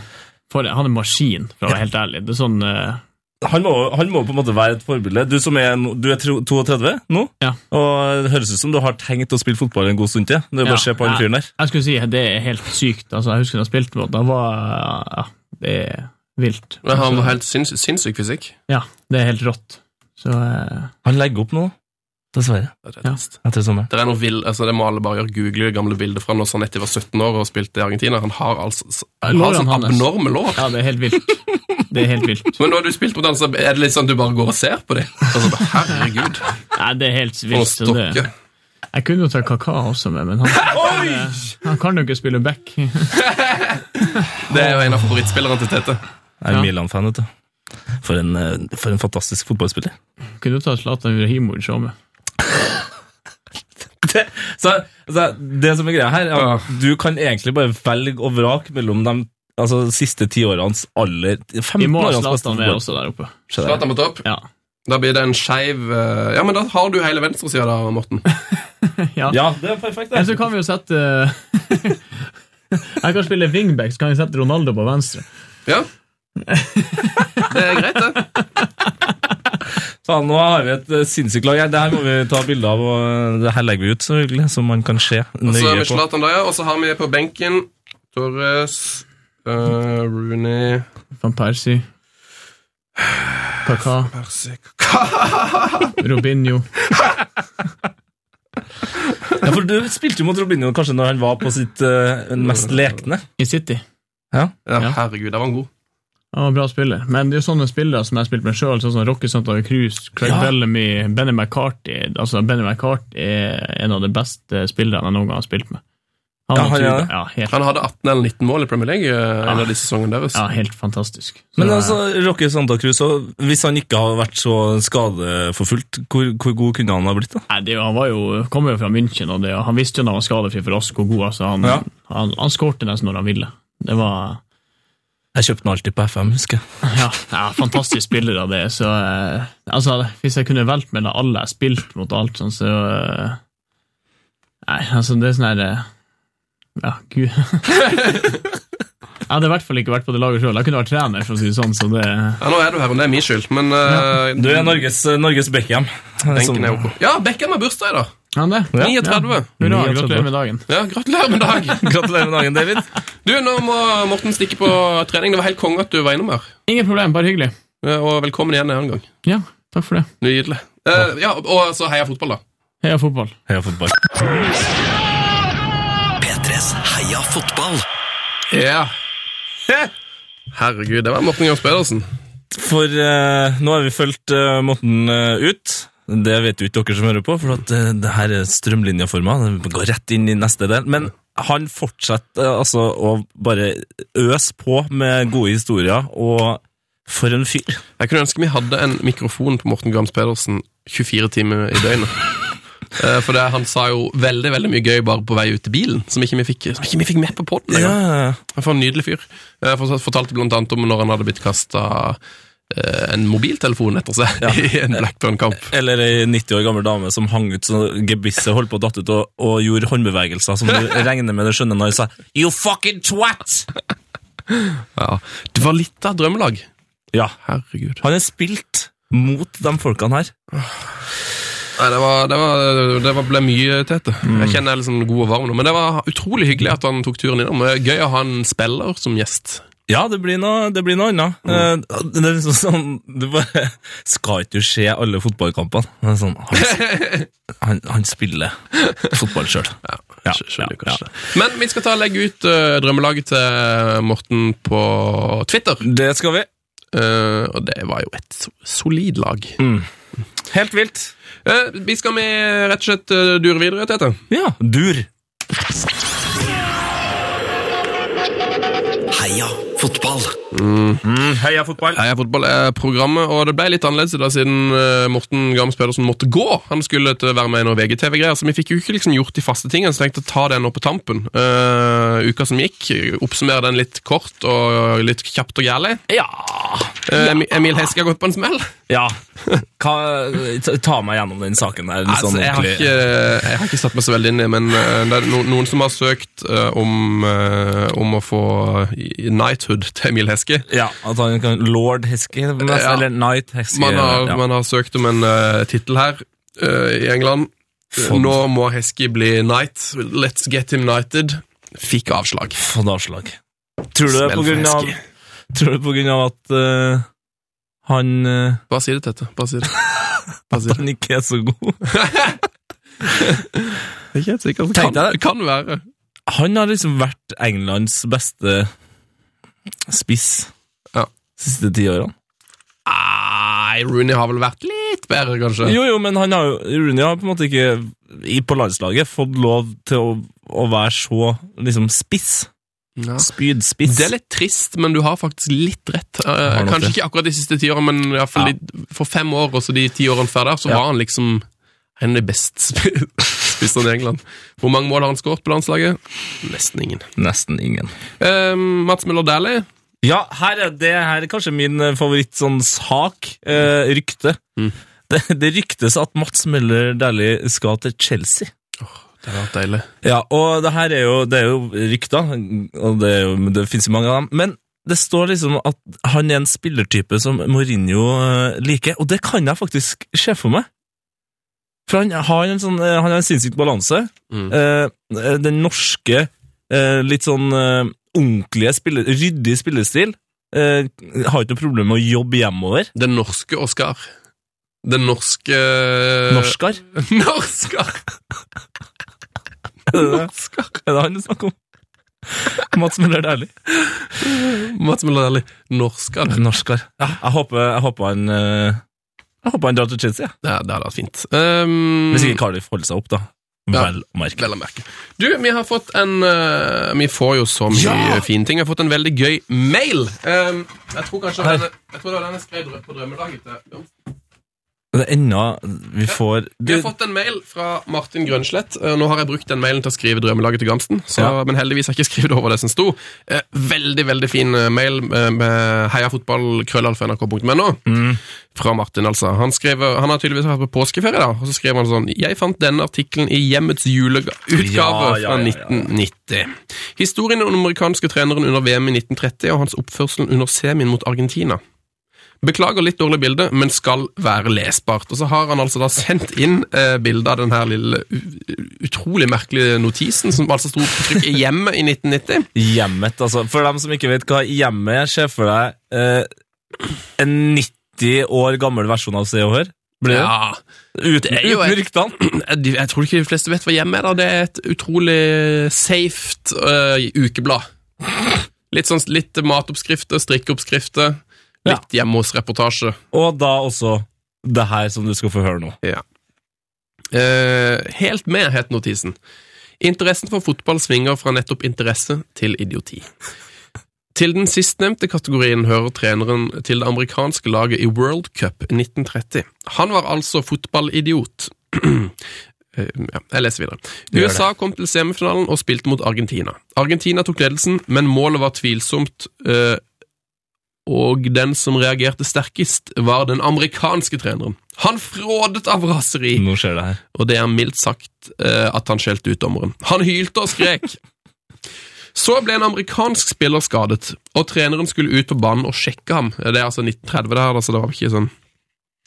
C: for, han er maskin, for å være helt ærlig. Det er sånn eh,
B: han må, han må på en måte være et forbilde. Du som er, no- du er tro- 32 nå,
C: Ja.
B: og det høres ut som du har tenkt å spille fotball en god stund til. Det er bare å se på han
C: jeg-
B: fyren der.
C: Jeg skulle si det er helt sykt. Altså, jeg husker da jeg spilte mot ham. Ja, det er vilt.
F: Men han var
C: Altså,
F: helt sinns, sinnssyk fysikk.
C: Ja, det er helt rått. Så eh,
B: Han legger opp nå, dessverre,
F: Det er
C: Ja.
F: trist.
B: etter sommeren.
F: Det er noe vill, altså det må alle bare gjøre google gamle bilder fra når Sanetti var 17 år og spilte i Argentina. Han har altså s- han har
C: Lårene
F: sånn
C: hans.
F: abnorme lår.
C: ja, det er helt vilt. Det er helt vilt.
F: Men når du spilt mot han, så er det litt sånn du bare går og ser på dem. Altså, bare, herregud,
C: Nei, det er helt
F: for
C: vilt.
F: en
C: så
F: stokke.
C: Det. Jeg kunne jo ta Kaka også med, men han, han kan jo ikke spille back.
F: Det er jo en av favorittspillerne til Tete.
B: Jeg er
C: Ja.
B: Milan-fan, vet du. For en, eh, for en fantastisk fotballspiller.
C: Kunne jo ta Zlatan Ibrahimovic òg med.
B: Det, så, så det som er greia her, er at du kan egentlig bare velge og vrake mellom de altså, siste ti årenes aller 15
C: Vi må ha
B: årenes beste
C: Zlatan
B: fotball.
C: med også der oppe.
B: Se der.
F: Zlatan på topp.
C: Ja.
F: Da blir det en skeiv eh, Ja, men da har du hele venstresida da, Morten.
B: Ja, det er perfekt,
C: Eller
B: det.
C: så kan vi jo sette eh, Jeg kan spille wingback, så kan vi sette Ronaldo på venstre.
F: Ja. Det er greit, det.
B: Faen, nå har vi et eh, sinnssykt lag. her. Det her må vi ta bilde av, og eh, det her legger vi ut, selvfølgelig, så man kan se
F: Så har
B: nøye
F: vi
B: på.
F: Zlatan der, ja. Og så har vi på benken Torres, eh, Rooney
C: Van Persie. Kaka.
F: Persik
C: Robinho.
B: Ja, for Du spilte jo mot Robinho kanskje når han var på sitt eh, mest lekne.
C: I City.
F: Ja,
C: Ja.
F: herregud, der var han god.
C: Han var en bra spiller. Men det er jo sånne spillere som jeg har spilt med sjøl, sånn som Rocky Santander Cruz, Craig
B: Ja.
C: Bellamy, Benny McCarthy Altså, Benny McCarthy er en av de beste spillerne jeg noen gang har spilt med. Han
B: Ja,
C: var
B: han er
C: tuba.
B: det.
C: ja, helt,
F: Han hadde 18 eller 19 mål i Premier League eh, en av de sesongene deres.
C: ja, helt fantastisk. Så,
B: Men altså, Rocky Santa Cruz, så hvis han ikke hadde vært så skadeforfulgt, hvor, hvor god kunne han ha blitt? da?
C: nei, det, er jo- han var jo, kom jo fra München, og det, han visste jo når han var skadefri for oss hvor god altså, han,
B: Ja.
C: han, han skårte nesten når han ville. Det var
B: Jeg kjøpte den alltid på FM, husker jeg.
C: Ja, ja fantastisk spillere det er, så eh, altså, Hvis jeg kunne valgt mellom alle jeg spilt mot alt, sånn, så eh, Nei, altså, det er sånn her eh, Ja, gud Jeg hadde i hvert fall ikke vært på det laget sjøl. Jeg kunne vært trener, for å si det sånn, så det
F: Ja, nå er du her, og det er min skyld, men eh,
B: Du er Norges, Norges Beckham.
F: benken er ok. Ja, Beckham har bursdag i dag.
C: Ja, det.
F: 39.
C: Hurra,
B: 39.
C: gratulerer med dagen.
F: Ja, gratulerer med dag.
B: Gratulerer med dagen, David.
F: Du, nå må Morten stikke på trening. Det var helt konge at du var innom her.
C: Ingen problem, bare hyggelig.
F: Eh, Og velkommen igjen en annen gang.
C: Ja, takk for det.
F: Nydelig. Eh, ja, og så heia fotball, da.
C: Heia fotball.
B: Heia fotball.
D: P3s Heia fotball.
F: Ja. Herregud, det var Morten Gams Pedersen.
B: For eh, nå har vi fulgt eh, Morten eh, ut. Det vet jo ikke dere som hører på, for at, eh, det her er strømlinjeforma. Det går rett inn i neste del. Men han fortsetter eh, altså å bare øse på med gode historier, og for en fyr.
F: Jeg kunne ønske vi hadde en mikrofon på Morten Gams Pedersen 24 timer i døgnet. Eh, For det, han sa jo veldig veldig mye gøy bare på vei ut til bilen, som ikke vi fikk, som ikke vi fikk med på podden engang. For en nydelig fyr. Jeg fortalte blant annet om når han hadde blitt kasta en mobiltelefon etter seg i en Blackburn-kamp.
B: Eller ei 90 år gammel dame som hang ut så gebisset holdt på å datt ut og, og gjorde håndbevegelser som du regner med det skjønner når hun sa You fucking twat!
F: Ja. Det var litt av et drømmelag.
B: Ja,
F: Herregud.
B: han er spilt mot de folkene her.
F: Nei, det, var, det, var, det var ble mye tete. Jeg kjenner jeg er liksom god og varm nå, men det var utrolig hyggelig at han tok turen innom. Det er Gøy å ha en spiller som gjest.
B: Ja, det blir noe, det blir noe annet.
F: Mm.
B: Eh, Det er liksom sånn, du bare skal ikke se alle fotballkampene. Det er sånn, han, han, han spiller fotball sjøl. Ja,
F: Skj- skjønner
B: ja,
F: kanskje det. Men vi skal ta og legge ut eh, drømmelaget til eh, Morten på Twitter.
B: Det skal vi.
F: Eh, og det var jo et so- solid lag.
B: Helt vilt.
F: Eh, vi skal med rett og slett eh, dure videre, Tete.
B: Ja, dur.
D: Heia fotball.
B: Mm, Heia fotball.
F: Heia fotball er programmet, og det ble litt annerledes da siden eh, Morten Gams Pedersen måtte gå. Han skulle til å være med i noen VGTV-greier, så vi fikk jo ikke liksom gjort de faste tingene, så jeg tenkte å ta det nå på tampen. Eh, uka som gikk, oppsummere den litt kort og litt kjapt og gærlig.
B: Ja.
F: Eh, Emi- Emil Heske har gått på en smell.
B: ja. Hva, ta- ta meg gjennom den saken der. Litt
F: Altså,
B: sånn
F: jeg, har
B: ordentlig.
F: ikke, jeg har ikke satt meg så veldig inn i, men eh, det er no, noen som har søkt eh, om, eh, om å få i- knighthood til Emil Heske.
B: Ja, at han kan Lord Heskey,
F: Ja.
B: eller Knight Heskey.
F: Man har,
B: ja.
F: man har søkt om en uh, tittel her eh, i England. Eh,
B: Fond.
F: Nå må Heskey bli knight. Let's get him knighted. Fikk avslag.
B: Fått avslag. Tror du det er
F: Smell
B: på
F: for
B: grunn av,
F: Heskey.
B: tror du det er på grunn av at eh, han, eh,
F: Bare si det, Tete. Bare si det. Bare si det.
B: han ikke er så god?
F: Jeg er ikke helt sikker. Det
B: Tenkte
F: kan,
B: jeg det.
F: kan være.
B: han har liksom vært Englands beste spiss
F: Ja.
B: siste ti årene.
F: Nei, Rooney har vel vært litt bedre, kanskje.
B: Jo, jo, men han har jo, Rooney har på en måte ikke i, på landslaget fått lov til å, å være så liksom spiss.
F: Ja.
B: Spydspiss.
F: Det er litt trist, men du har faktisk litt rett. Eh,
B: har nok
F: kanskje
B: det.
F: ikke akkurat de siste ti årene, men i hvert fall
B: Ja.
F: de, for fem år og så de ti årene før der, så
B: Ja.
F: var han liksom en av de best sp- spisserne i England. Hvor mange mål har han skåret på landslaget? Nesten ingen.
B: Nesten ingen.
F: Eh, Mats Møller Dæhlie.
B: Ja, her er, det her er kanskje min eh, favoritt sånn sak, eh, rykte. Det, det ryktes at Mats Møller Dæhlie skal til Chelsea.
F: Det har vært deilig.
B: Ja, og det her er jo, det er jo rykter, og det, er jo, men det finnes jo mange av dem. Men det står liksom at han er en spillertype som Mourinho eh, liker, og det kan jeg faktisk se for meg. For han har en, sånn, eh, han har en sinnssyk balanse.
F: Mm.
B: Eh, eh, den norske, eh, litt sånn eh, ordentlige, spille, ryddige spillestil eh, har ikke noe problem med å jobbe hjemover.
F: Den norske Oscar. Den norske Eh,
B: Norskar,
F: Norskar!
B: er det det?
F: Norskar.
B: er det han du snakker om? Mats Møller Dæhlie.
F: Mats Møller Dæhlie. Norskar.
B: Norskar. Ja, jeg, håper, jeg, håper han, eh, jeg håper han drar til Chelsea. ja.
F: Det, det hadde vært fint. Um,
B: Hvis ikke Cardiff holder seg opp, da.
F: Ja.
B: Vel å merke.
F: Vel å merke. Du, vi har fått en eh, Vi får jo så mye fine ting. Vi har fått en veldig gøy mail. Eh, jeg tror kanskje
B: Her.
F: den, Jeg tror det var den jeg skrev drø- på drømmelaget til
B: Det er ennå Vi får
F: Vi har fått en mail fra Martin Grønslett. Eh, Nå har jeg brukt den mailen til å skrive drømmelaget til Gamsten, så,
B: Ja.
F: men heldigvis har jeg ikke skrevet over det som sto. Eh, Veldig, veldig fin eh, mail eh, med heiafotballkrøllalfa.nrk.no fra Martin, altså. Han, skrev, han har tydeligvis vært på påskeferie, da, og så skrev han sånn Jeg fant denne artikkelen i Hjemmets juleutgave
B: Ja, ja, ja, ja.
F: fra 1990. Historien om den amerikanske treneren under VM i 1930 og hans oppførsel under semien mot Argentina. Beklager litt dårlig bilde, men skal være lesbart. Og så har han altså da sendt inn eh, bilde av den her lille u- utrolig merkelige notisen, som altså sto på trykk i hjemmet i 1990.
B: hjemmet, altså. For dem som ikke vet hva hjemmet er, se for deg eh, en 90 år gammel versjon av Se og Hør. Blir det?
F: Ja,
B: uten
F: er jo
B: uten
F: et-
B: ryktene.
F: jeg, jeg tror ikke de fleste vet hva hjemmet er da. Det er et utrolig safe eh, ukeblad. Litt sånn litt matoppskrifter, strikkeoppskrifter, litt hjemme hos-reportasje.
B: Og da også det her som du skal få høre nå.
F: Ja. Eh, helt med, het notisen. Interessen for fotball svinger fra nettopp interesse til idioti. Til den sistnevnte kategorien hører treneren til det amerikanske laget i World Cup 1930. Han var altså fotballidiot. Eh, ja, jeg leser videre.
B: gjør det.
F: USA kom til semifinalen og spilte mot Argentina. Argentina tok ledelsen, men målet var tvilsomt, eh, og den som reagerte sterkest, var den amerikanske treneren. Han frådet av raseri
B: Nå skjer det her.
F: og det er mildt sagt eh, at han skjelte ut dommeren. Han hylte og skrek. Så ble en amerikansk spiller skadet, og treneren skulle ut på banen og sjekke ham. Det er altså 1930 det her, da, så det var ikke sånn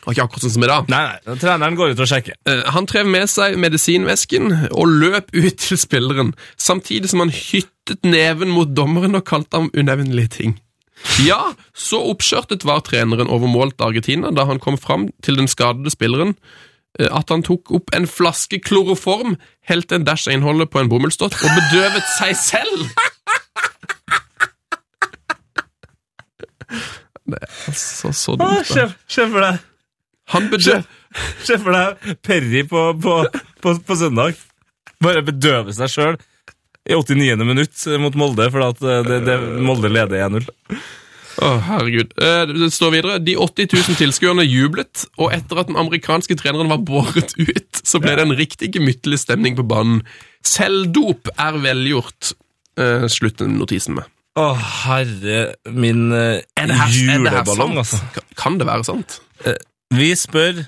F: det var ikke akkurat sånn som i dag.
B: Nei, nei, treneren går ut og sjekker.
F: Eh, Han trev med seg medisinvesken og løp ut til spilleren, samtidig som han hyttet neven mot dommeren og kalte ham unevnelige ting. Ja, så oppskjørtet var treneren over mål til Argentina da han kom fram til den skadede spilleren, eh, at han tok opp en flaske kloroform, helte en dash av innholdet på en bomullsdott og bedøvet seg selv! Det er altså så
B: Ah,
F: dumt.
B: Se
F: da.
B: se for deg
F: Han bedøv...
B: Se for deg Perry på, på, på, på søndag. Bare bedøve seg sjøl i 89. minutt mot Molde, for at eh, det, det, Molde leder 1-0.
F: Å, herregud. Eh, Det står videre. De 80 000 tilskuerne jublet, og etter at den amerikanske treneren var båret ut, så ble det en riktig gemyttlig stemning på banen. Selvdop er velgjort, eh, slutter notisen med.
B: Å, herre min eh,
F: Er det her, er det her
B: juleballong,
F: sant?
B: altså.
F: Ka- Kan det være sant?
B: Vi spør,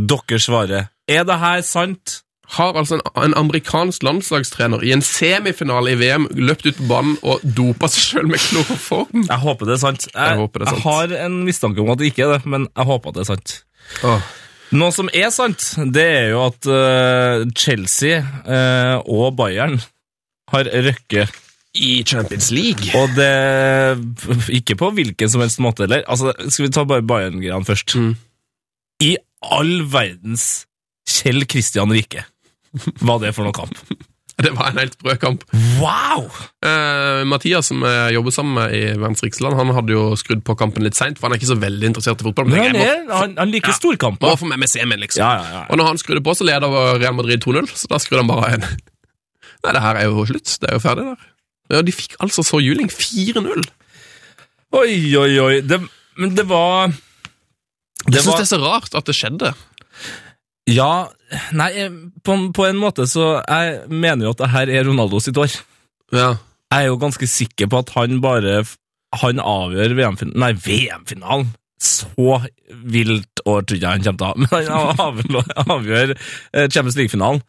B: dere svarer. Er det her sant?
F: Har altså en, en amerikansk landslagstrener i en semifinale i VM løpt ut på banen og dopa seg sjøl med kloroform?
B: Jeg håper det er sant. Jeg,
F: Jeg håper det er sant.
B: jeg har en mistanke om at det ikke er det, men jeg håper det er sant.
F: Åh.
B: Noe som er sant, det er jo at eh, Chelsea eh, og Bayern har røkket
F: I Champions League?
B: Og det Ikke på hvilken som helst måte heller. Altså, skal vi ta bare Bayern-greiene først?
F: Mm.
B: I all verdens Kjell Kristian Rike. Hva det for noen kamp?
F: Det var en helt sprø kamp.
B: Wow!
F: Eh, Mathias, som jeg jobber sammen med i Verdens Riksland, han hadde jo skrudd på kampen litt seint, for han er ikke så veldig interessert i fotball. Men
B: Men han,
F: jeg må,
B: er, han, han liker
F: Ja. må
B: storkamper.
F: få med meg semien, liksom.
B: Ja, ja, ja.
F: Og når han skrudde på, så leder Real Madrid 2-0, så da skrudde han bare en. Nei, det her er jo slutt. Det er jo ferdig der. Ja, De fikk altså så juling. 4-0.
B: Oi, oi, oi. Det, men det var
F: Jeg
B: det
F: syns det er så rart at det skjedde.
B: Ja, nei, jeg- på, på en måte så Jeg mener jo at det her er Ronaldo sitt år.
F: Ja.
B: Jeg er jo ganske sikker på at han bare Han avgjør VM-finalen Nei, VM-finalen! Så vilt år tror jeg han kommer til å ha. Men han avgjør- avgjør eh, Champions League-finalen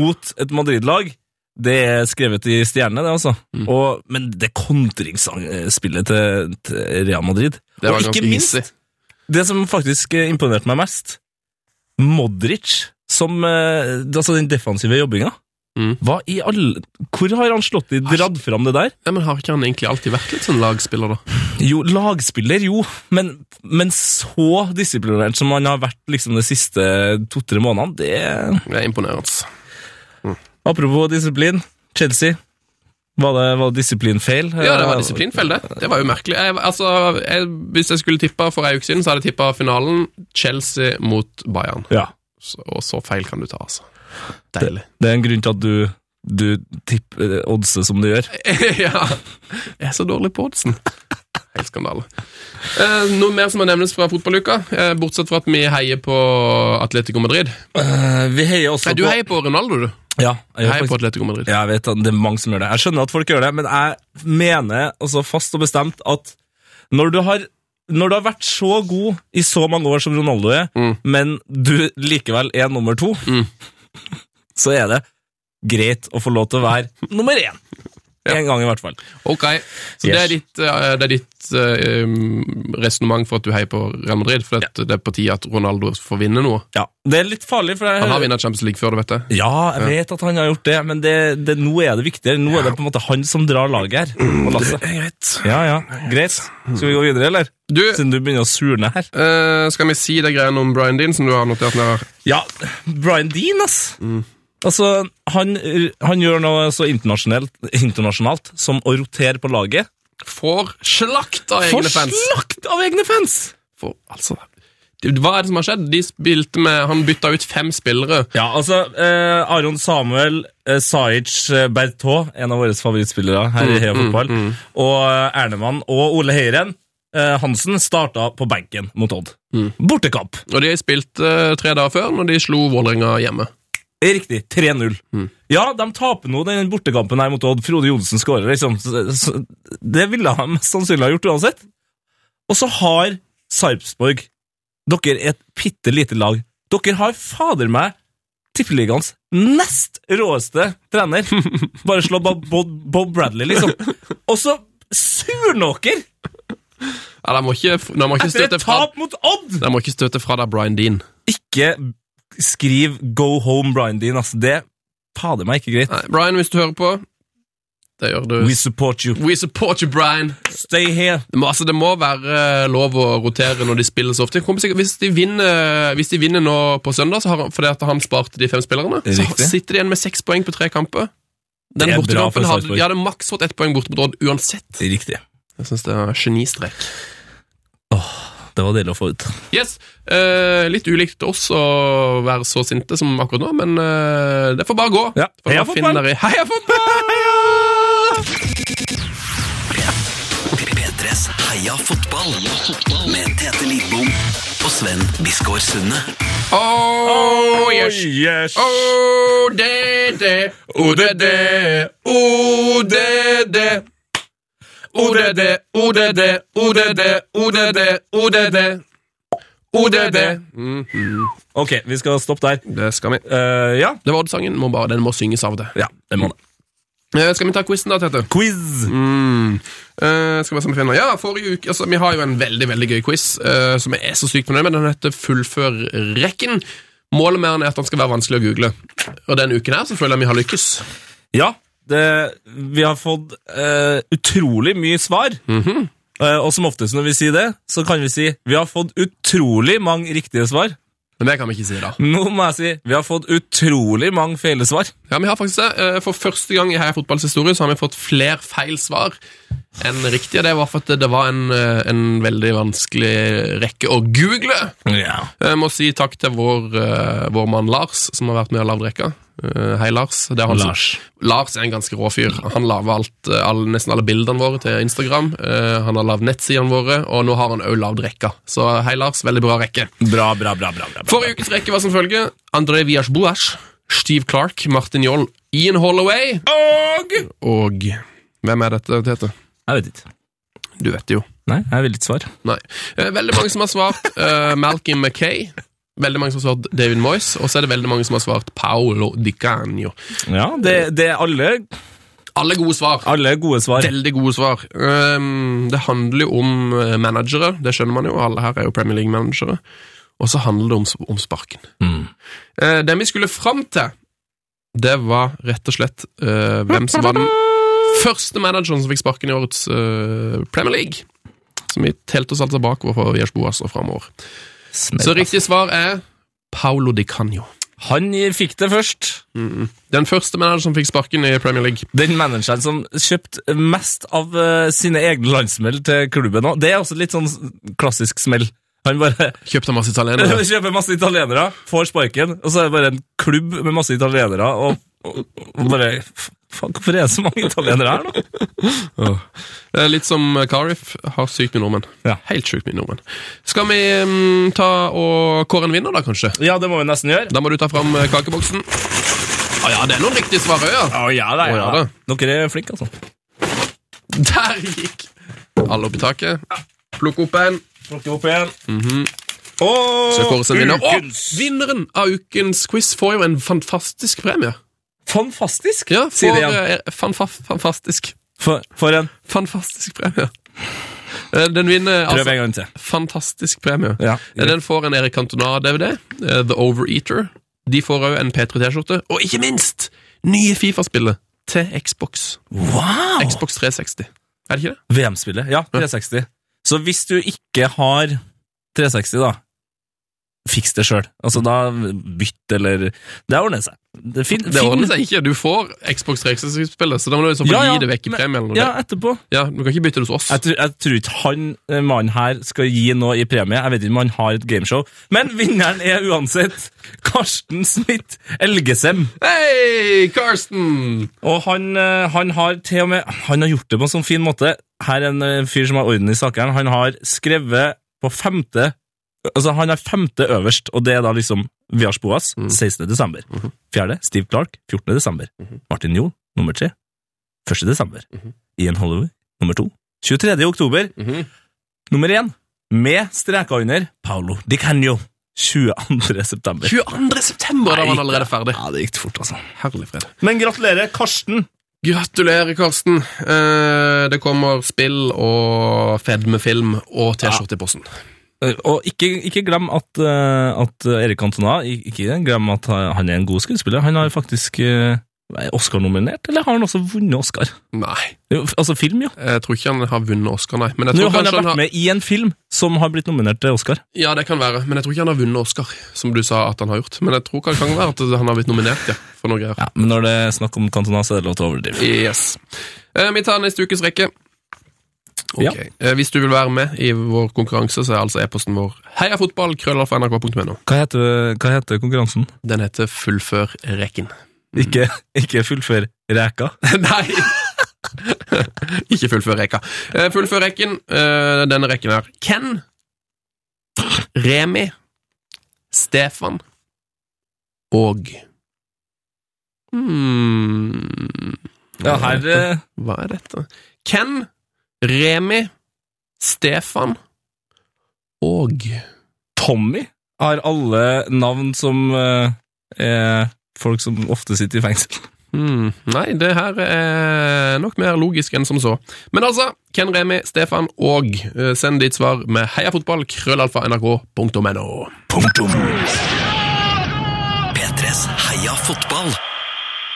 B: mot et Madrid-lag. Det er skrevet i stjernene, det, altså.
F: Mm.
B: Og, men det kontringsspillet til, til Real Madrid
F: Det var
B: Og ikke
F: ganske
B: minst
F: hissig.
B: det som faktisk eh, imponerte meg mest, Modric, som eh, altså den defensive jobbinga
F: Mm.
B: Hva i alle Hvor har han slått i dratt fram det der?
F: Ja, men har ikke han egentlig alltid vært litt sånn lagspiller, da?
B: Jo, lagspiller, jo, men, men så disiplinert som han har vært liksom de siste to-tre månedene, det
F: Det er imponerende.
B: Apropos disiplin, Chelsea. Var det, var det disiplinfeil? Eh,
F: Ja, det var disiplinfeil, det. Det var jo merkelig. Jeg, altså, jeg, hvis jeg skulle tippa for ei uke siden, så hadde jeg tippa finalen Chelsea mot Bayern.
B: Ja.
F: Så, og så feil kan du ta, altså. Deilig.
B: Det er en grunn til at du, du tipper eh, oddset som du gjør.
F: ja. Jeg er så dårlig på oddsen. Helt skandale. Eh, noe mer som må nevnes fra fotballuka, eh, bortsett fra at vi heier på Atletico Madrid.
B: Eh, vi heier også
F: Nei, du
B: på
F: heier på Ronaldo, du.
B: Ja, jeg,
F: Jeg heier
B: gjør
F: på
B: faktisk,
F: Atletico Madrid.
B: jeg vet at det er mange som gjør det. Jeg skjønner at folk gjør det, men jeg mener altså fast og bestemt at når du har når du har vært så god i så mange år som Ronaldo er,
F: Mm.
B: men du likevel er nummer to,
F: Mm.
B: så er det greit å få lov til å være nummer én. En gang i hvert fall.
F: Ok, så det er
B: Yes.
F: ditt, eh, det er ditt uh, resonnement for at du heier på Real Madrid, for at det er på tide at Ronaldo får vinne noe.
B: Ja, Det er litt farlig, for jeg
F: Han har
B: hører-
F: vunnet Champions League før, du vet det.
B: Ja, jeg vet at han har gjort det, men det, det, nå er det viktigere. Nå er det på en måte han som drar laget her.
F: Mm.
B: Og lasset. Ja, ja, greit. Skal vi gå videre, eller?
F: Du,
B: Siden du begynner å surne her.
F: eh, skal vi si det greiene om Brian Dean som du har notert ned her?
B: Ja, Brian Dean, ass. Altså, han, han gjør noe så internasjonalt, internasjonalt som å rotere på laget.
F: Får slakt av
B: For
F: egne fans.
B: slakt av egne fans!
F: For, altså, det, hva er det som har skjedd? De spilte med, Han bytta ut fem spillere.
B: Ja, altså, eh, Aron Samuel, eh, Saic eh, Bertot, en av våre favorittspillere her
F: Mm,
B: i Heia Fotball, og eh, Ernemann og Ole Heiren eh, Hansen starta på benken mot Odd.
F: Mm.
B: Bortekamp.
F: Og de spilte eh, tre dager før, når de slo Vålerenga hjemme.
B: Riktig. 3-0. Ja, de taper nå den bortekampen her mot Odd. Frode Johnsen skårer, liksom. Så- så- Det ville han mest sannsynlig ha gjort uansett. Og så har Sarpsborg Dere er et bitte lite lag. Dere har fader meg tippeligaens nest råeste trener. Bare slå Bob, Bob, Bob Bradley, liksom. Og så surnåker
F: Ja, De må ikke, de må ikke,
B: etter
F: støte,
B: et
F: fra,
B: tap mot Odd!
F: de må ikke støte fra deg Brian Dean.
B: Ikke skriv 'Go home, Brian Dean'. Altså, det fader meg ikke greit.
F: Nei, Brian, hvis du hører på Det gjør du.
B: We support you.
F: We support you, Brian.
B: Stay here.
F: Det må, altså, det må være lov å rotere når de spiller så ofte. Det kommer sikkert- Hvis de vinner, hvis de vinner nå på søndag, så har han, fordi at han sparte de fem spillerne, så
B: Riktig.
F: sitter de igjen med seks poeng på tre kamper.
B: Det
F: Den
B: er bra for
F: bortekampen hadde,
B: Sarpsborg.
F: de hadde maks fått ett poeng borte mot Odd uansett.
B: Riktig.
F: Jeg syns det er genistrek.
B: Det var deilig å få ut.
F: Yes, eh, Litt ulikt oss å være så sinte som akkurat nå, men eh, det får bare gå.
B: Ja.
F: For
B: Heia
F: da finner
B: fotball!
F: vi- Heia fotball!
D: P3s Heia fotball med Tete Lidbom og Sven Biskår Sunde.
F: Oh, yes.
B: Oh.
F: ODD, ODD, ODD. ODD, ODD, ODD, ODD, ODD. ODD.
B: Ok, vi skal stoppe der.
F: Det skal vi.
B: Eh, ja.
F: Det var Odd-sangen. Må bare, den må synges av det.
B: ja, det må det.
F: Eh, Skal vi ta quizen, da, Tete?
B: Quiz!
F: Mm. Eh, skal vi se om vi finner Ja, forrige uke altså, Vi har jo en veldig veldig gøy quiz eh, som jeg er så sykt fornøyd med. Den heter Fullfør rekken. Målet med den er at den skal være vanskelig å google. Og denne uken her så føler jeg vi har lykkes.
B: Ja, det, vi har fått eh, utrolig mye svar. Eh, og som oftest når vi sier det, så kan vi si vi har fått utrolig mange riktige svar.
F: Men det kan vi ikke si, da.
B: Nå må jeg si vi har fått utrolig mange feile svar.
F: Ja, vi har faktisk det. Eh, For første gang i Heia Fotballs historie så har vi fått flere feil svar enn riktige. Det var for at det var en, eh, en veldig vanskelig rekke å google.
B: Ja.
F: Jeg må si takk til vår, eh, vår mann Lars, som har vært med og lagd rekka. Eh, Hei, Lars. Det er han som-
B: Lars.
F: Lars er en ganske rå fyr. Han lager alt, eh, all, nesten alle bildene våre til Instagram. Eh, Han har lagd nettsidene våre, og nå har han òg lagd rekka. Så hei, Lars. Veldig bra rekke.
B: Bra, bra, bra. bra, bra, bra.
F: Forrige ukes rekke var som følger André Vias Boas, Steve Clark, Martin Joll, Ian Holloway Og Og Hvem er dette, Tete?
B: Jeg vet ikke.
F: Du vet det jo
B: Nei, jeg vil ikke svar.
F: Nei Eh, Veldig mange som har svart eh, Malcolm McKay Veldig mange som har svart David Moyes Og så er det veldig mange som har svart Paolo Di Canio
B: Ja, det, det er alle,
F: Alle gode svar
B: alle gode svar.
F: Veldig gode svar. Ehm, det handler jo om eh, managere, det skjønner man jo. Alle her er jo Premier League-managere. Og så handler det om, s- om sparken.
B: Mm.
F: Eh, den vi skulle fram til, det var rett og slett eh, hvem som var den første manageren som fikk sparken i årets eh, Premier League. Som vi telte oss altså bakover for Viers Boas og framover. Så riktig svar er Paulo Di Canio.
B: Han fikk det først.
F: Den første manageren som fikk sparken i Premier League.
B: Den manageren som kjøpte mest av eh, sine egne landsmell til klubben òg. Det er også litt sånn s- klassisk smell. Han bare
F: Kjøpte masse italienere.
B: kjøper masse italienere, får sparken, og så er det bare en klubb med masse italienere, og, og, og bare f- Faen, hvorfor er det så mange italienere her, nå?
F: Det er litt som Carif har sykt mye nordmenn.
B: Ja.
F: Helt sykt mye nordmenn. Skal vi mm, ta og kåre en vinner, da, kanskje?
B: Ja, det må vi nesten gjøre.
F: Da må du ta fram eh, kakeboksen. Ah, ja, det er noen riktige svar òg, ja.
B: Å, ja, det, er-
F: Å, ja, det.
B: Dere er flinke, altså.
F: Der gikk alle opp i taket. Plukk opp en.
B: Plukke opp igjen. Å,
F: Mhm. Så kåres en vinner. Å,
B: ukens
F: vinneren av ukens quiz får jo en fantastisk premie.
B: Fantastisk!
F: Ja,
B: Si det
F: får,
B: igjen.
F: eh, fanfa fantastisk.
B: For, for en.
F: Fantastisk premie. Eh, Den vinner
B: Prøv
F: altså
B: en gang til.
F: fantastisk premie.
B: Ja,
F: Eh, Den får en Erik Cantona-DVD, eh, The Overeater. De får òg en P3T-skjorte, og ikke minst nye Fifa-spillet til Xbox.
B: Wow!
F: Xbox 360. Er det ikke det?
B: VM-spillet. Ja, 360. Så hvis du ikke har 360, da, fiks det sjøl. Altså, da bytt eller Det ordner seg. Det, fin,
F: Det ordner seg ikke. Du får Xbox 360-spillet, så da må du i så fall
B: Ja, ja,
F: gi det vekk i
B: men-
F: premie. eller noe.
B: Ja, etterpå.
F: Ja, du kan ikke bytte det hos oss.
B: Jeg, tror- jeg tror ikke han eh, mannen her skal gi noe i premie. Jeg vet ikke om han har et gameshow. Men vinneren er uansett Karsten Smith Elgesem.
F: Hei, Karsten!
B: Og han, eh, han har til og med Han har gjort det på en sånn fin måte. Her er en eh, fyr som har orden i sakene. Han har skrevet på femte Altså, han er femte øverst, og det er da liksom Viars Boas, 16. desember. Fjerde, Steve Clark, 14. desember. Martin Johl, nummer tre, 1. desember. Ian Holloway, nummer to, 23. oktober. Nummer én, med streka under, Paolo Di Canio, 22. september.
F: 22. september, da var han allerede ferdig.
B: Ja, det gikk fort, altså.
F: Herlig fred.
B: Men gratulerer, Karsten.
F: Gratulerer, Karsten. Eh, Det kommer spill og fedme film og T-skjorte i posten.
B: Eh, Og ikke, ikke glem at, eh, at Erik Cantona ik- Ikke glem at han han er en god skuespiller. Han har faktisk eh, er Oscar-nominert, eller har han også vunnet Oscar?
F: Nei.
B: Jo, f- Altså film, ja.
F: Eh, Jeg tror ikke han har vunnet Oscar, nei. Men jeg
B: Nå,
F: tror
B: han har
F: kanskje
B: vært
F: han har...
B: med i en film som har blitt nominert til Oscar.
F: Ja, det kan være. Men jeg tror ikke han har vunnet Oscar, som du sa at han har gjort. Men jeg tror kan- kan være at han har blitt nominert, ja. For noe greier.
B: Ja, Men når det er snakk om Cantona, så er det lov til å overdrive.
F: Yes. Eh, Vi tar neste ukes rekke. Ok.
B: Ja.
F: Eh, Hvis du vil være med i vår konkurranse, så er altså e-posten vår heiafotballkrøllalfa.nrk.no.
B: Hva heter, hva heter konkurransen?
F: Den heter Fullfør rekken.
B: Ikke, ikke fullfør reka.
F: Nei! ikke fullfør rekka. Eh, Fullfør rekken. eh, Denne rekken her. Ken. Remi. Stefan. Og hmm,
B: Ja, her eh,
F: Hva er dette? Ken. Remi. Stefan. Og
B: Tommy har alle navn som eh, er folk som ofte sitter i fengsel.
F: Hmm, nei, det her er nok mer logisk enn som så. Men altså, Ken Remi, Stefan og eh, send ditt svar med heiafotball, krøllalfa, nrk.no.
D: P3s Heia fotball.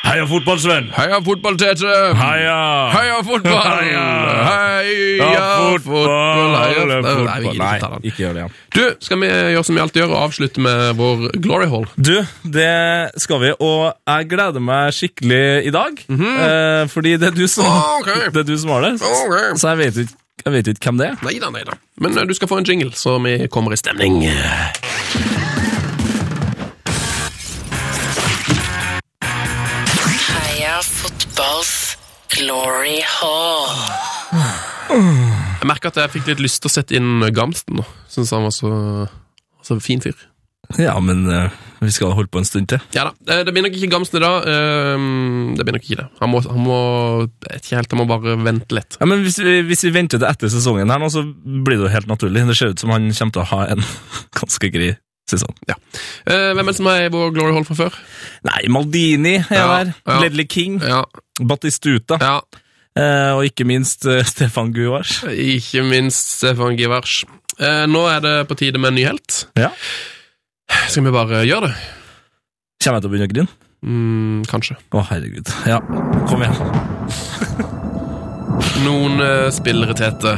B: Heia fotballsvenn!
F: Heia fotball, Tete!
B: Heia!
F: Heia fotball!
B: Heia!
F: Heia fotball! Heia fotball! Nei, vi gidder ikke ta
B: Nei,
F: den.
B: ikke gjør det igjen.
F: Du, skal vi gjøre som vi alltid gjør, og avslutte med vår glory hall?
B: Du, det skal vi, og jeg gleder meg skikkelig i dag. eh, fordi det er, du som,
F: Mhm. Ok.
B: det er du som har det.
F: Ok.
B: Så jeg vet jo ikke, jeg vet jo ikke hvem det er.
F: Nei da, nei da. Men eh, du skal få en jingle, så vi kommer i stemning.
H: Heia fotballs glory hall.
F: Jeg merker at jeg fikk litt lyst til å sette inn Gamsten nå. Syns han var så, så fin fyr.
B: Ja, men eh, vi skal holde på en stund til.
F: Ja da, eh, det blir nok ikke Gamsen i dag. ehm, Det blir nok ikke det. Han må, han må jeg vet ikke helt, han må bare vente litt.
B: Ja, men hvis vi, hvis vi venter til etter sesongen her nå, så blir det jo helt naturlig. Det ser ut som han kommer til å ha en ganske grei sesong.
F: Eh, Hvem er det som er i vår Glory Hall fra før?
B: Nei, Maldini er
F: Ja,
B: der.
F: ja.
B: Ledley King.
F: Ja,
B: Batistuta.
F: ja.
B: Eh, og ikke minst eh, Stefan Guars.
F: Ikke minst Stefan Givers. Eh, Nå er det på tide med en ny helt.
B: Ja.
F: Skal vi bare gjøre det?
B: Kommer jeg til å begynne å grine?
F: Mm, kanskje.
B: Å, herregud. Ja, kom igjen.
F: Noen eh, spillere, Tete,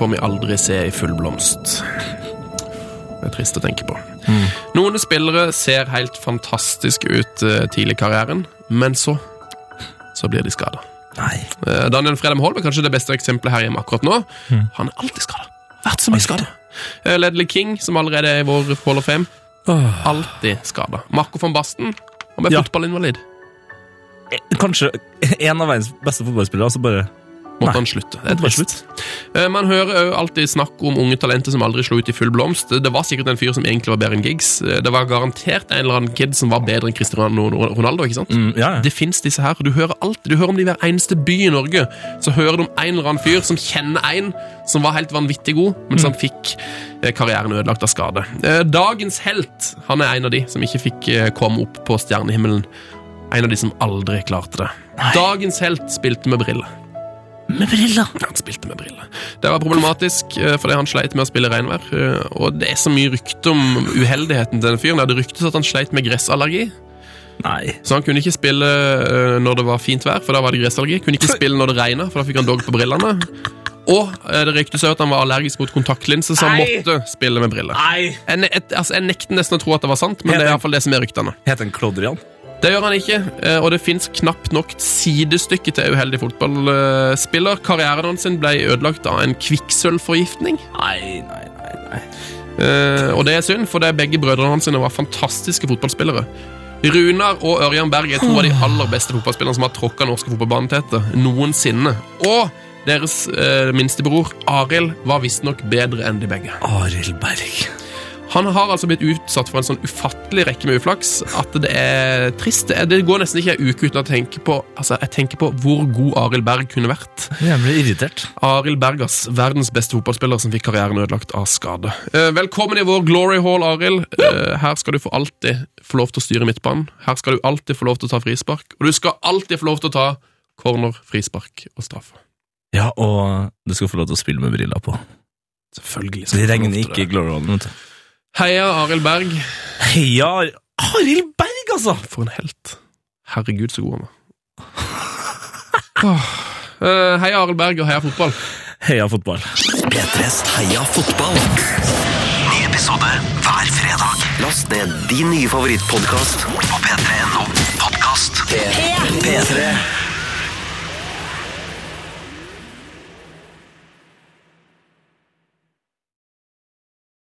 F: får vi aldri se i full blomst. Det er trist å tenke på. Noen spillere ser helt fantastiske ut eh, tidlig i karrieren, men så så blir de skada.
B: Nei.
F: Eh, Daniel Fredheim Holm er kanskje det beste eksempelet her hjemme akkurat nå. Han er alltid skada. Mm. Vært så mye skada. Eh, Ledley King, som allerede er i vår Hall of Fame,
B: Åh.
F: alltid skada. Marco van Basten, han ble
B: Ja.
F: fotballinvalid.
B: eh, kanskje en av verdens beste fotballspillere, og så bare
F: måtte
B: Nei.
F: han slutte. Det er
B: måtte bare
F: trist. Eh, Man hører òg alltid snakk om unge talenter som aldri slo ut i full blomst. Det var sikkert en fyr som egentlig var bedre enn Giggs. Eh, Det var garantert en eller annen kid som var bedre enn Cristiano Ronaldo. ikke sant?
B: Mm, ja, ja.
F: Det fins disse her. Du hører alt. Du hører om det i hver eneste by i Norge. Så hører du om en eller annen fyr som kjenner en som var helt vanvittig god, men
A: Mm.
F: som fikk eh, karrieren ødelagt av skade. Eh, Dagens helt han er en av de som ikke fikk eh, komme opp på stjernehimmelen. En av de som aldri klarte det. Dagens helt spilte med briller.
A: Med briller.
F: Han spilte med briller. Det var problematisk eh, fordi han sleit med å spille regnvær. eh, Og det er så mye rykte om uheldigheten til den fyren. Det hadde ryktes at han sleit med gressallergi.
B: Nei.
F: Så han kunne ikke spille eh, når det var fint vær, for da var det gressallergi. Kunne ikke spille når det regna, for da fikk han dog på brillene. Og eh, det ryktes også at han var allergisk mot kontaktlinser, så han
B: Nei.
F: måtte spille med briller.
B: Nei.
F: Jeg, ne- et, altså, jeg nekter nesten å tro at det var sant, men
B: Helt
F: det er
B: enig.
F: iallfall det som er ryktene.
B: Heter han Klodrian?
F: Det gjør han ikke, eh, og det fins knapt nok sidestykke til uheldig fotballspiller. Karrieren hans sin ble ødelagt av en kvikksølvforgiftning.
B: Nei, nei, nei. nei.
F: Eh, og det er synd, for det er begge brødrene hans sine var fantastiske fotballspillere. Runar og Ørjan Berg er to av de aller beste fotballspillerne som har tråkka norske fotballbanen til etter noensinne. Og deres eh, minstebror Arild var visstnok bedre enn de begge.
B: Arild Berg.
F: Han har altså blitt utsatt for en sånn ufattelig rekke med uflaks at det er trist. Det er- Det går nesten ikke ei uke uten å tenke på Altså, jeg tenker på hvor god Arild Berg kunne vært.
B: Jeg ble irritert.
F: Arild Bergas, verdens beste fotballspiller som fikk karrieren ødelagt av skade. Eh, Velkommen i vår Glory Hall, Arild. Eh, Her skal du for alltid få lov til å styre midtbanen. Her skal du alltid få lov til å ta frispark. Og du skal alltid få lov til å ta corner, frispark og straffe.
B: Ja, og du skal få lov til å spille med briller på.
F: Selvfølgelig.
B: Det regner ikke i Glorian, vet du.
F: Heia Arild Berg.
B: Heia Ar- Arild Berg, altså!
F: For en helt. Herregud, så god han var. Åh. Eh, Heia Arild Berg og heia fotball.
B: Heia fotball.
D: P3s Heia fotball. Ny episode hver fredag. Last ned din nye favorittpodkast på p3.no podkast. P3.